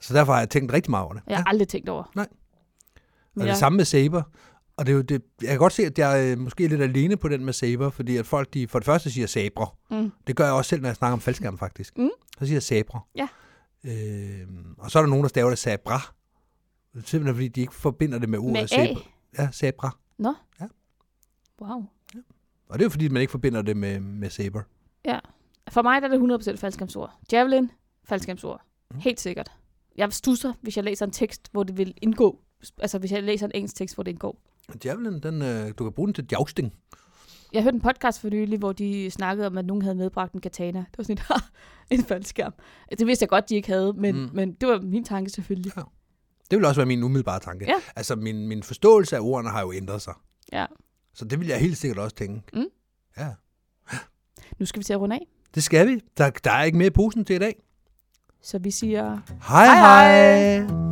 S2: Så derfor har jeg tænkt rigtig meget over det.
S3: jeg har aldrig tænkt over.
S2: Nej.
S3: Men
S2: Og
S3: jeg,
S2: det samme med Saber. Og det er jo det, jeg kan godt se, at jeg øh, måske er lidt alene på den med Saber, fordi at folk de for det første siger Sabre.
S3: Mm.
S2: Det gør jeg også selv, når jeg snakker om faldskærm faktisk.
S3: Mm.
S2: Så siger jeg Sabre.
S3: Ja.
S2: Øh, og så er der nogen, der staver det Sabra. Simpelthen fordi de ikke forbinder det med ordet
S3: med A.
S2: Sabre. Ja, Sabra.
S3: Wow.
S2: Og det er jo fordi, man ikke forbinder det med, med Saber.
S3: For mig der er det 100% faldskærmsord. Javelin, faldskærmsord.
S2: Mm.
S3: Helt sikkert. Jeg stusser, hvis jeg læser en tekst, hvor det vil indgå. Altså, hvis jeg læser en engelsk tekst, hvor det indgår.
S2: Javelin, den, øh, du kan bruge den til jousting.
S3: Jeg hørte en podcast for nylig, hvor de snakkede om, at nogen havde medbragt en katana. Det var sådan et, en faldskærm. Altså, Det vidste jeg godt, de ikke havde, men, mm.
S2: Mm.
S3: men det var min tanke selvfølgelig.
S2: Det vil også være min umiddelbare tanke.
S3: Ja.
S2: Altså, min, min forståelse af ordene har jo ændret sig.
S3: Ja.
S2: Så det vil jeg helt sikkert også tænke.
S3: Mm.
S2: Ja.
S3: Nu skal vi til at runde af.
S2: Det skal vi. Der, der er ikke mere i posen til i dag.
S3: Så vi siger
S2: Hej hej!
S3: Hej,
S2: hej.
S3: hej.
S2: hej.